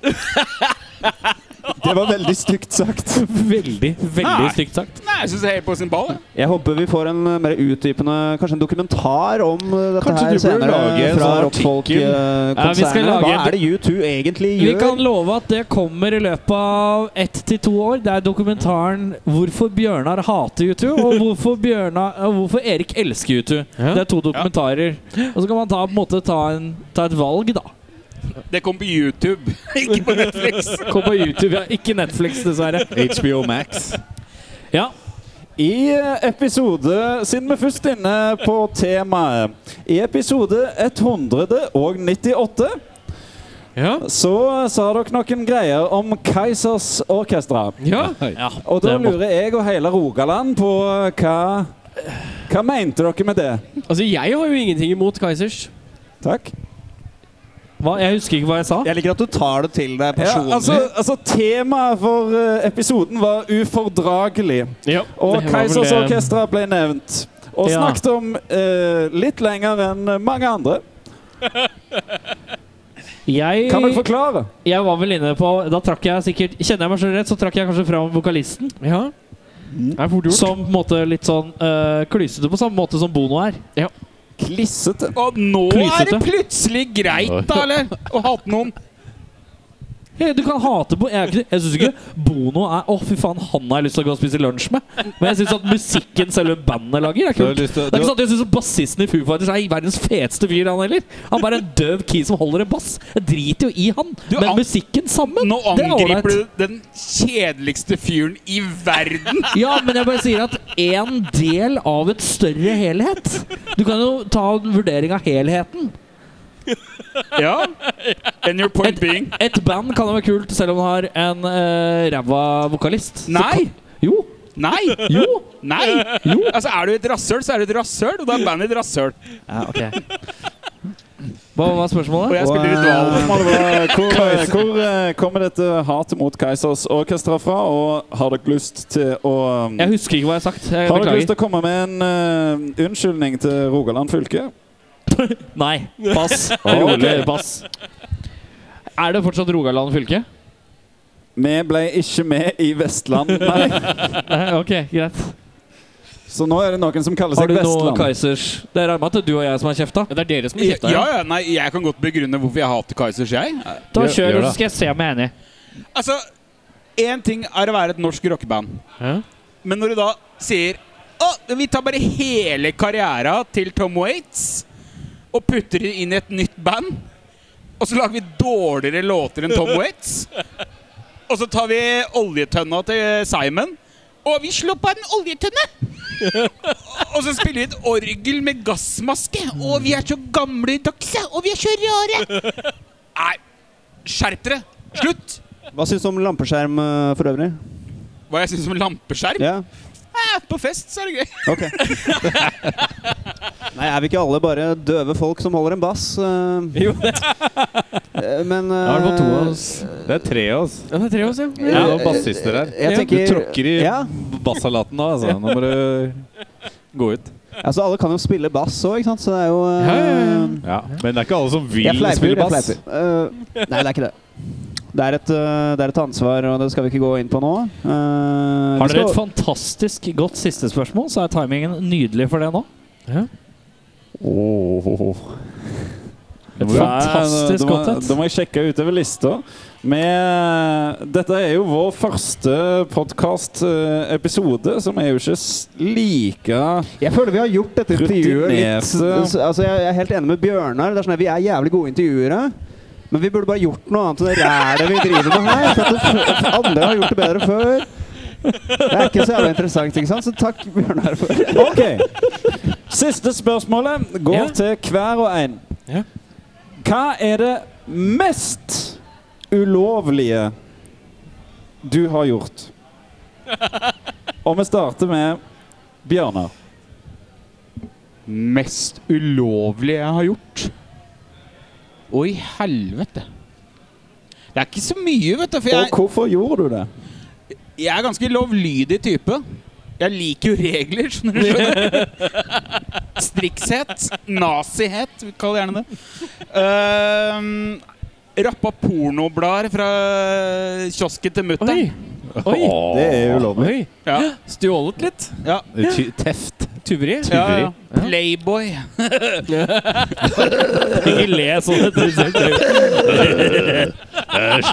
F: Det var veldig stygt sagt.
C: Veldig, veldig
B: Nei.
C: stygt sagt.
B: Nei, jeg syns det er helt på sin ball. jeg.
E: Jeg håper vi får en eh, mer utdypende Kanskje en dokumentar om eh, dette
D: Kanskje
E: her
D: du bør
E: senere.
D: lage en
E: fra
D: sånn artikkel.
C: Ja, vi skal
E: rockfolk-konsernet.
C: lage
E: Hva
C: en
E: er det U2 egentlig
C: Vi
E: gjør?
C: kan love at det kommer i løpet av ett til to år. Det er dokumentaren 'Hvorfor Bjørnar hater U2', og hvorfor, Bjørnar, og 'Hvorfor Erik elsker U2'.
A: Ja.
C: Det er to dokumentarer. Og så kan man ta, på en måte, ta, en, ta et valg, da.
B: Det kom på YouTube, ikke på Netflix.
C: Kom på YouTube, ja. Ikke Netflix, dessverre.
D: HBO Max.
C: Ja,
F: I episode Siden vi først er inne på temaet I episode 198
A: Ja.
F: så sa dere noen greier om Keisers Orkestra.
A: ja.
C: Ja,
F: Og da
C: det må-
F: lurer jeg og hele Rogaland på hva Hva mente dere med det?
A: Altså, jeg har jo ingenting imot Kaizers.
F: Takk.
C: hva? Jeg husker ikke hva jeg sa.
E: Jeg liker at du tar det til deg
F: Ja,
E: personlig.
F: altså, altså Temaet for eh, episoden var 'ufordragelig',
A: Ja.
F: og
C: Det var vel
F: Keisers
C: det-
F: Orkestra ble nevnt. Og
C: Ja.
F: snakket om eh, litt lenger enn mange andre.
C: Jeg,
F: Kan dere forklare?
C: jeg var vel inne på Da trakk jeg sikkert Kjenner jeg meg selv rett, så trakk jeg kanskje fram vokalisten.
A: ja.
D: Mm.
A: Det er fort gjort.
C: Som på en måte litt sånn øh, klysete, på samme måte som Bono er.
F: Klissete.
B: Og nå er det
C: Klysete.
B: plutselig greit, da, eller? Å hate noen.
C: Hey, du kan hate Bono. Jeg, er ikke- jeg syns ikke Bono er Å, fy faen, han har jeg lyst til å gå og spise lunsj med. Men jeg syns at musikken selve bandet lager, er
D: Du har
C: kult.
D: lyst til,
C: Det er
D: du,
C: ikke sånn at jeg synes at Bassisten i Foo Fighters er verdens feteste fyr, han heller. Han bare er en døv key som holder en bass. Jeg driter jo i han,
B: Du,
C: men
B: an-
C: musikken sammen
B: Nå
C: det er ålreit.
B: angriper du den kjedeligste fyren i verden.
C: Ja, men jeg bare sier at én del av et større helhet. Du kan jo ta en vurdering av helheten.
B: Ja. And your point being
C: Et band kan jo være kult selv om det har en eh, ræva vokalist. Så
B: Nei.
C: kan- Jo.
B: Nei.
C: Jo.
B: Nei. Altså, er du et rasshøl, så er du et rasshøl, og da er bandet et rasshøl.
C: Ja, ok. Hva var
B: Og
C: spørsmålet?
B: jeg spiller i
F: Og, eh,
B: dualen.
F: spørsmålet var, Hvor, hvor eh, kommer dette hatet mot Keisers Orkestra fra, og har dere lyst til å um,
C: Jeg husker ikke hva jeg har sagt. Jeg
F: Har dere lyst
C: beklager.
F: til å komme med en eh, unnskyldning til Rogaland fylke?
C: Nei. Pass. Rolig. Pass. Er det fortsatt Rogaland fylke?
F: Vi ble ikke med i Vestland, nei.
C: Nei, ok, greit.
F: Så nå er det noen som kaller
C: Har
F: seg
C: du noe
F: Vestland.
C: Kaizers? Det regner med at det er du og jeg som har kjefta.
A: Ja, det er dere som har
B: Ja,
A: kjefta?
B: ja, nei, jeg kan godt begrunne hvorfor jeg hater Kaizers, jeg.
C: Ta
D: Gjør- gjør
C: kjør,
D: det.
C: så skal jeg se om jeg er enig.
B: Altså, én ting er å være et norsk rockeband,
A: Ja.
B: men når du da sier å, vi tar bare hele karriera til Tom Waits og putter det inn i et nytt band, og så lager vi dårligere låter enn Tom Waits, og så tar vi oljetønna til Simon, og vi slår på en oljetønne! og så spiller vi et orgel med gassmaske, og vi er så gamledagse, og vi er så rare! Nei, skjerp dere! Slutt!
E: Hva syns du om lampeskjerm eh, for øvrig?
B: Hva jeg syns om lampeskjerm?
E: Ja,
B: Eh, På fest så er det gøy.
E: ok. Nei, er vi ikke alle bare døve folk som holder en bass? eh?
A: Jo, det
E: Eh, Men
A: er i hvert fall to av oss.
D: det er tre av oss.
A: Ja, det er tre av oss, ja.
D: Det er noen bassister her.
E: Jeg
D: Du
E: tenker,
D: tråkker i
E: Ja,
D: bassalaten nå, altså. Nå må du gå ut.
E: altså Alle kan jo spille bass òg, ikke sant? Så det er jo eh,
A: Ja, ja, ja.
D: Ja. Men det er ikke alle som vil
E: Jeg fleiper.
D: spille
E: Jeg
D: bass.
E: fleiper. Eh, nei, det er ikke det. Det er, et, eh, det er et ansvar, og det skal vi ikke gå inn på nå. Eh, vi
C: Har dere
E: skal-
C: et fantastisk godt siste spørsmål, så er timingen nydelig for det nå. Et fantastisk
F: Nei,
C: godt
F: da, må- da
C: et.
F: må jeg sjekke utover lista. Med, dette er jo vår første podkast-episode, som er jo ikke s- like
E: Jeg føler vi har gjort dette intervjuet litt
F: Rutinerte.
E: altså, Jeg jeg er helt enig med Bjørnar. Det er sånn at vi er jævlig gode intervjuere. Men vi burde bare gjort noe annet enn det rælet vi driver med her. For at det, f- andre har gjort det bedre før. Det er ikke så jævlig interessant, ikke sant? Så takk, Bjørnar. For det.
F: OK. Siste spørsmålet går
A: Ja.
F: til hver og en.
A: Ja.
F: Hva er det mest ulovlige du har gjort? Og vi starter med Bjørnar.
B: Mest ulovlige jeg har gjort? Å, i helvete. Det er ikke så mye, vet du. For
F: Og
B: jeg,
F: hvorfor gjorde du det?
B: jeg er ganske lovlydig type. Jeg liker jo regler, skjønner du. skjønner Strikshet. Nazihet, vi kaller gjerne det. Ehm, rappa pornoblader fra kiosken til
A: Oi.
B: mutter'n.
A: Oi.
F: Det er ulovlig.
A: Oi.
B: Ja,
A: Stjålet litt.
B: ja,
D: Ty- Teft.
A: Tyveri.
B: ja, ja. Playboy.
C: Ikke le sånn.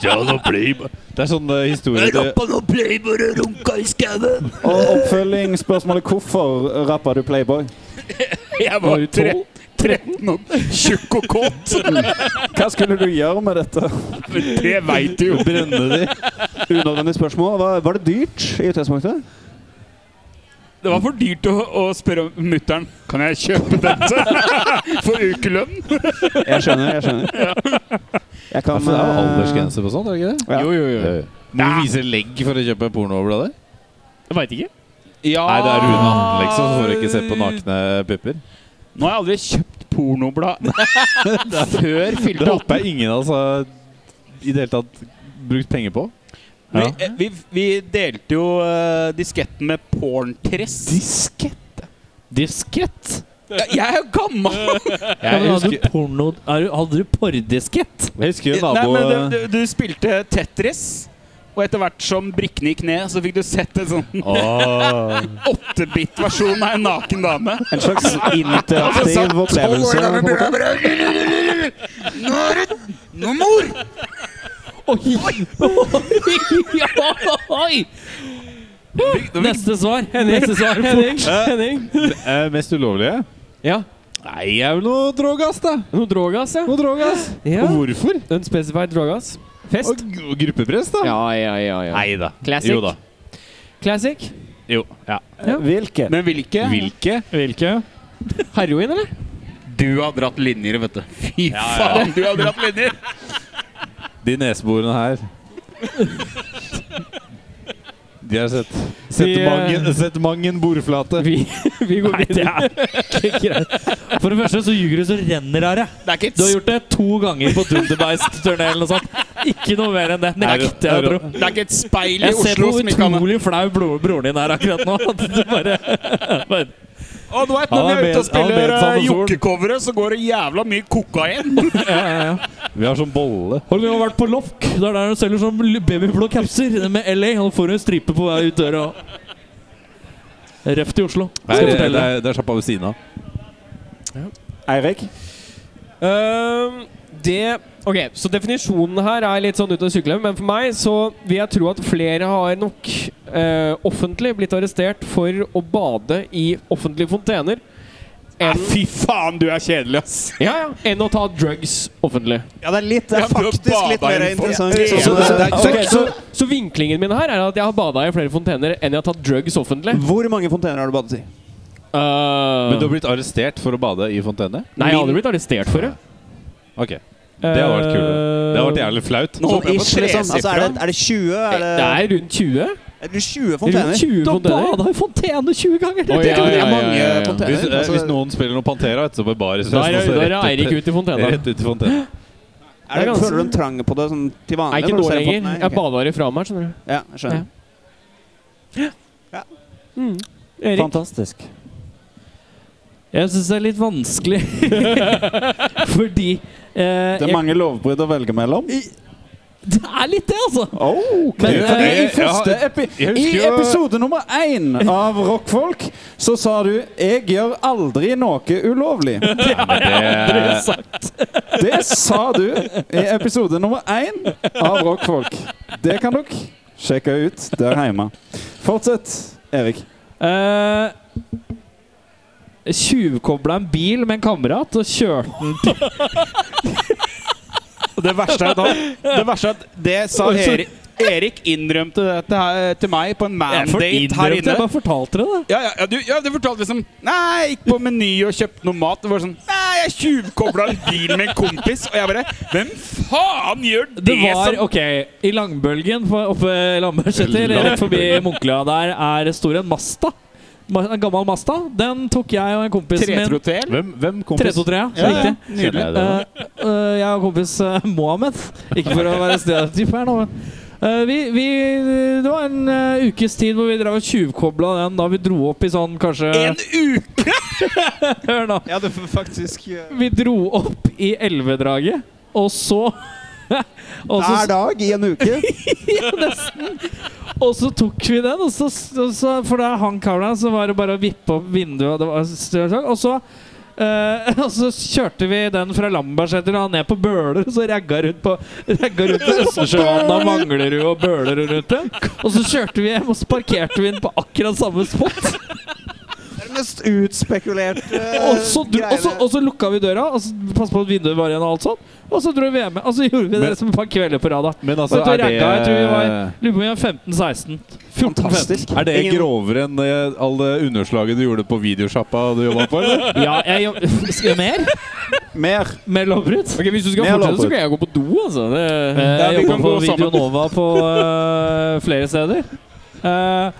D: Det er sånn eh, historie til
B: noen Playboy og runka i skauen.
F: Og oppfølgingsspørsmålet hvorfor rappa du Playboy?
B: Jeg
A: Var
B: var
A: du
B: tre,
A: tolv?
B: 13 og tjukk og kåt.
F: Hva skulle du gjøre med dette?
B: Men det veit du jo.
D: brenne de.
E: Unødvendig spørsmål. Var, var det dyrt i utgangspunktet?
B: Det var for dyrt å, å spørre mutter'n. Kan jeg kjøpe dette for ukelønn?
E: Jeg skjønner, jeg skjønner. Jeg kan
D: Altså, Det er jo
E: eh,
D: aldersgrense på sånt, er det ikke det?
E: Ja.
B: Jo, jo, jo.
D: Må du vise legg for å kjøpe pornoblader?
A: Jeg veit ikke.
B: Ja.
D: Nei, det er Rune Anlegg som får ikke se på nakne pupper.
B: Nå har jeg aldri kjøpt pornoblad før
D: Det
B: fylte 18.
D: håper jeg ingen av oss altså. har i det hele tatt brukt penger på.
B: Vi, eh, vi, vi delte jo eh, disketten med porntress.
D: Diskett?
C: Diskett?
B: Ja, Jeg er jo gammel!
C: Ja, men
D: Jeg
C: hadde,
D: husker,
C: du porno, er du- hadde du pordiskett?
D: jeg husker jo
B: Nei,
D: nabo...
B: men du, du, du spilte Tetris, og etter hvert som brikkene gikk ned, så fikk du sett en sånn
D: Åh.
B: 8-bit-versjon av en naken dame.
E: En slags interaktiv opplevelse. på en måte.
B: Nå er det Nå, mor!
C: Oi! Oi! Neste svar. Neste svar.
A: Henning.
C: Fort.
A: Henning.
D: Eh, mest ulovlige?
A: Ja.
D: Nei, jeg er vel noe drogass, da.
A: Noe drogas, ja.
D: Noe drogass.
A: ja.
D: Og hvorfor?
A: Unspecified drogas. Fest.
D: Og, og gruppepress, da.
A: Ja, ja, ja. ja.
D: Nei da.
A: Classic.
D: Jo da.
A: Classic.
D: Jo. Ja.
E: Hvilke?
B: Men hvilke?
D: Hvilke?
C: Hvilke?
A: Heroin, eller?
B: Du har dratt linjer, vet du. Fy faen, du har dratt linjer!
D: De neseborene her. De har sett Sett
A: Vi, eh,
D: mangen, sett mangen bordflate.
A: Vi, vi går videre.
C: For det første så ljuger du så renner av deg.
B: Det er ikke
C: Du har
B: et,
C: gjort det to ganger på Dunderbeist-turné eller noe sånt. Ikke noe mer enn det. Nekter jeg å tro.
B: det er ikke et speil i
C: Jeg ser
B: Oslo
C: hvor
B: som ikke kan
C: utrolig flau bro- broren din er akkurat nå. At du bare, bare
B: Å, du vet,
D: Han
B: når vi
D: er
B: er
D: med- han
B: ute og
D: er med
B: spiller eh,
D: Sandefjord.
B: jokkecoveret, så går det jævla mye kokain.
D: Vi har sånn bolle.
C: Har du vært på Lofk? Det er der de selger sånn babyblå capser med LA. Han får en stripe på vei ut døra. Røft i Oslo.
D: Det
C: Skal
D: er, det
C: fortelle.
D: er, det er sjappa ved siden av.
E: Eirik?
A: Ehm, det Ok, så definisjonen her er litt sånn ute å sykle, men for meg så vil jeg tro at flere har nok eh, offentlig blitt arrestert for å bade i offentlige fontener enn,
B: Fy faen, du er kjedelig, ass.
A: ja, ja, enn å ta drugs offentlig.
E: Ja, det er litt Det
B: Ja,
E: er
B: du har
E: faktisk litt
B: bada i
E: mer
B: en
E: interessant. Sånn
B: fonten.
E: som-
B: Ja, det
A: Så,
E: Ok,
A: så,
E: så
A: så vinklingen min her er at jeg har bada i flere fontener enn jeg har tatt drugs offentlig.
E: hvor mange fontener har du badet i?
D: Men du har blitt arrestert for å bade i fontene?
A: Nei, jeg har aldri blitt arrestert for det.
D: Ok. Det har vært kult. Det har vært jævlig flaut.
B: Nå
E: Sånn
B: håper jeg på
E: ish, liksom. Altså, er, det,
B: tresifra.
E: er det 20? Er
A: Det
E: det,
A: er rundt 20.
E: er det 20
A: Rundt
E: fontener?
A: 20
C: Du har
A: fontener.
C: bada i fontene 20 ganger!
A: Oi, ja,
E: Det
A: ja,
E: er
A: ja,
E: mange
A: ja, ja.
E: fontener.
D: Hvis, eh,
E: Altså,
D: hvis noen spiller noe Pantera etterpå i baris
A: Der er- der er Eirik ute i fontena.
D: Rett ut i fontena.
E: er det,
A: ganske-
E: føler du en trang på det sånn til
A: Nei,
E: vanlig?
A: ikke
E: når du
A: nå
E: ser på
A: lenger.
E: den? Nei,
A: Jeg
E: ok.
A: bader i fra meg, skjønner du.
E: Ja, jeg skjønner.
A: Erik.
E: Fantastisk.
C: Jeg syns det er litt vanskelig. Fordi eh,
F: Det er
C: jeg,
F: mange lovbrudd å velge mellom. Oh,
C: det er litt det, altså.
F: Ok,
C: Men,
F: fordi
C: eh,
F: I første
D: jeg-
F: epi
D: jeg
F: I
D: husker jo-
F: episode nummer én av Rockfolk så sa du 'Jeg gjør aldri noe ulovlig'.
D: Det,
F: Det sa du i episode nummer én av Rockfolk. Det kan dere sjekke ut der hjemme. Fortsett, Erik.
C: Eh, Tjuvkobla en bil med en kamerat og kjørte
B: Det verste er at han Det verste er at det sa Erik Erik innrømte dette her til meg på en
C: Jeg
B: mandate her
C: innrømte,
B: inne.
C: Jeg bare fortalte dere det.
B: Ja, ja, ja, du, ja, du fortalte liksom Nei, jeg gikk på Meny og kjøpte noe mat. Det var sånn Nei, jeg tjuvkobla en bil med en kompis. Og jeg bare Hvem faen gjør det,
C: Det var
B: som
C: OK. I langbølgen på- oppe i Lambertseter, rett forbi Munklia, der er det stor en Masta. Ma- En gammel Masta. Den tok jeg og en kompis min.
B: Tretrotell?
D: hvem, hvem kompis?
C: 323, ja.
B: Ja, ja.
C: Riktig.
D: Kjenner jeg det nå?
C: Eh, eh, jeg og kompis eh, Mohammed. Ikke for å være stereotyp her nå, men eh, vi, vi, Det var en eh, ukes tid hvor vi drev og tjuvkobla den da vi dro opp i sånn kanskje
B: En uke!
C: Hør nå.
E: Ja, det er faktisk eh,
C: Vi dro opp i elvedraget, og så og så-
E: Hver dag i en uke.
C: Og så tok vi den, og så, og så for da hang kabla, så var det bare å vippe opp vinduet, og det var støv og sånn. Og så, eh, og så kjørte vi den fra Lambertseter og ned på Bøler, og så ragga rundt på ragga rundt på Østersjøvannet og Manglerud og Bøler og rundt det. Og så kjørte vi hjem, og så parkerte vi den på akkurat samme spot.
E: mest utspekulerte
C: Og så, dro, og, så, og så lukka vi døra, og så passet på at vinduet var igjen, og alt sånt. Og så dro vi hjem. Og så gjorde vi det
D: Men-
C: som et par kvelder på rad. da.
D: Men altså,
C: Og da
D: er det,
C: ragga jeg, tror vi
F: Eh,
C: var- Lurer på om vi var 15-16. 14-15.
E: Fantastisk.
D: er det
E: Ingen-
D: grovere enn eh, alle underslaget du gjorde på videosjappa du jobba på? eller?
C: Ja, jeg jobb... Skal jeg mer?
F: Mer.
C: Mer lovbrudd?
A: Ok, Hvis du skal
F: Mer
A: fortsette, så
F: lovbrudd.
A: kan jeg gå på do, altså. Det,
C: Eh,
B: Ja, vi
C: jeg jobba
B: kan
C: på
B: gå
C: Video
B: sammen.
C: Nova på eh, flere steder. Eh,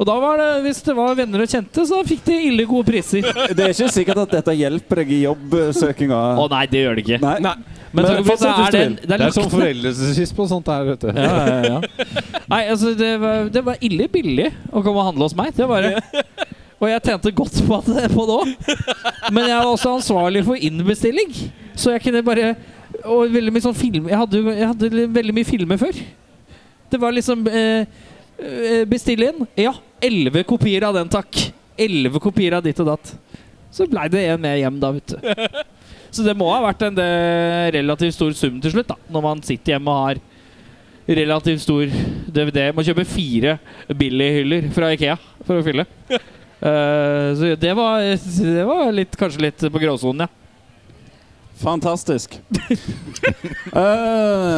C: og da var det, hvis det var venner og kjente, så fikk de ille gode priser. Å
F: Det er ikke sikkert at dette hjelper deg i jobbsøkinga.
C: nei, det gjør det ikke.
F: Nei.
A: Nei.
C: Men, takk
F: Men
C: og pris,
F: fortsett hvis
C: er det,
F: du
C: det er liksom
D: Det er
C: lagt
D: sånn foreldelsesrist på sånt her, vet du.
C: ja, ja, ja. Nei, altså, det var, det var ille billig å komme og handle hos meg. Det var det. Og jeg tjente godt på, at, på det òg. Men jeg var også ansvarlig for innbestilling. Så jeg kunne bare Og veldig mye sånn film Jeg hadde, jo- jeg hadde li- veldig mye filmer før. Det var liksom eh, eh, Bestille inn. Ja, elleve kopier av den, takk. Elleve kopier av ditt og datt. Så blei det en med hjem, da, vet du. Så det må ha vært en eh, relativt stor sum til slutt, da. Når man sitter hjemme og har relativt stor DVD. Må kjøpe fire Billy-hyller fra Ikea for å fylle. Eh, så det var, det var litt, kanskje litt på gråsonen, ja.
F: Fantastisk. Eh,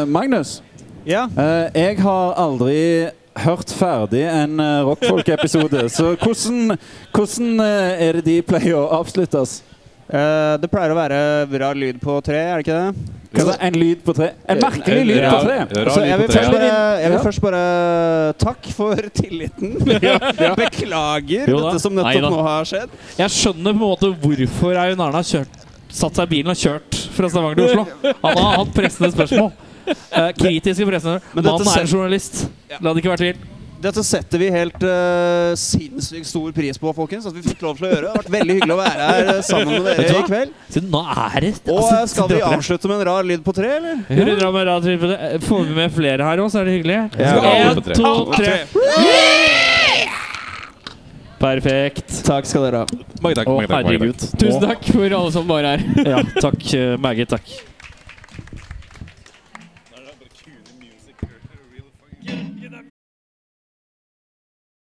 F: Magnus,
E: Ja.
F: eh, jeg har aldri hørt ferdig en eh, rockfolk-episode, så hvordan, hvordan eh, er det de pleier å avsluttes?
E: Eh, det pleier å være bra lyd på tre, er det ikke det?
F: Altså, en lyd på tre? En merkelig lyd på tre!
D: Ja, rar
E: Så
D: lyd
E: jeg
D: på
E: vil,
D: tre.
E: først bare, jeg vil
F: Ja.
E: først bare Takk for tilliten. Beklager
C: Jo da.
E: dette som
C: Nei da.
E: nettopp nå har skjedd.
C: Jeg skjønner på en måte hvorfor Eivind Arne har kjørt, satt seg i bilen og kjørt fra Stavanger til Oslo. Han har hatt pressende spørsmål. Eh, kritiske pressende
E: Men dette
C: Mannen er
E: ser-
C: en journalist. La det ikke være tvil.
E: Dette setter vi helt eh, sinnssykt stor pris på, folkens. At vi fikk lov til å gjøre. Det har vært veldig hyggelig å være her eh, sammen med
C: Vet du
E: dere
C: hva?
E: i kveld.
C: Så nå er det
E: Og
C: altså,
E: eh, skal vi
C: dråper det.
E: avslutte med en rar lyd på tre, eller?
C: Vi runder av med Radio Trippel. Eh, Får vi med flere her òg, så er det hyggelig.
D: Ja.
C: En, to, tre. Perfekt.
E: Takk skal dere ha.
D: Mange takk,
C: Å,
D: mange takk, mange takk.
C: herregud.
A: Tusen takk for alle som var her.
C: Ja, takk. eh, Meget takk.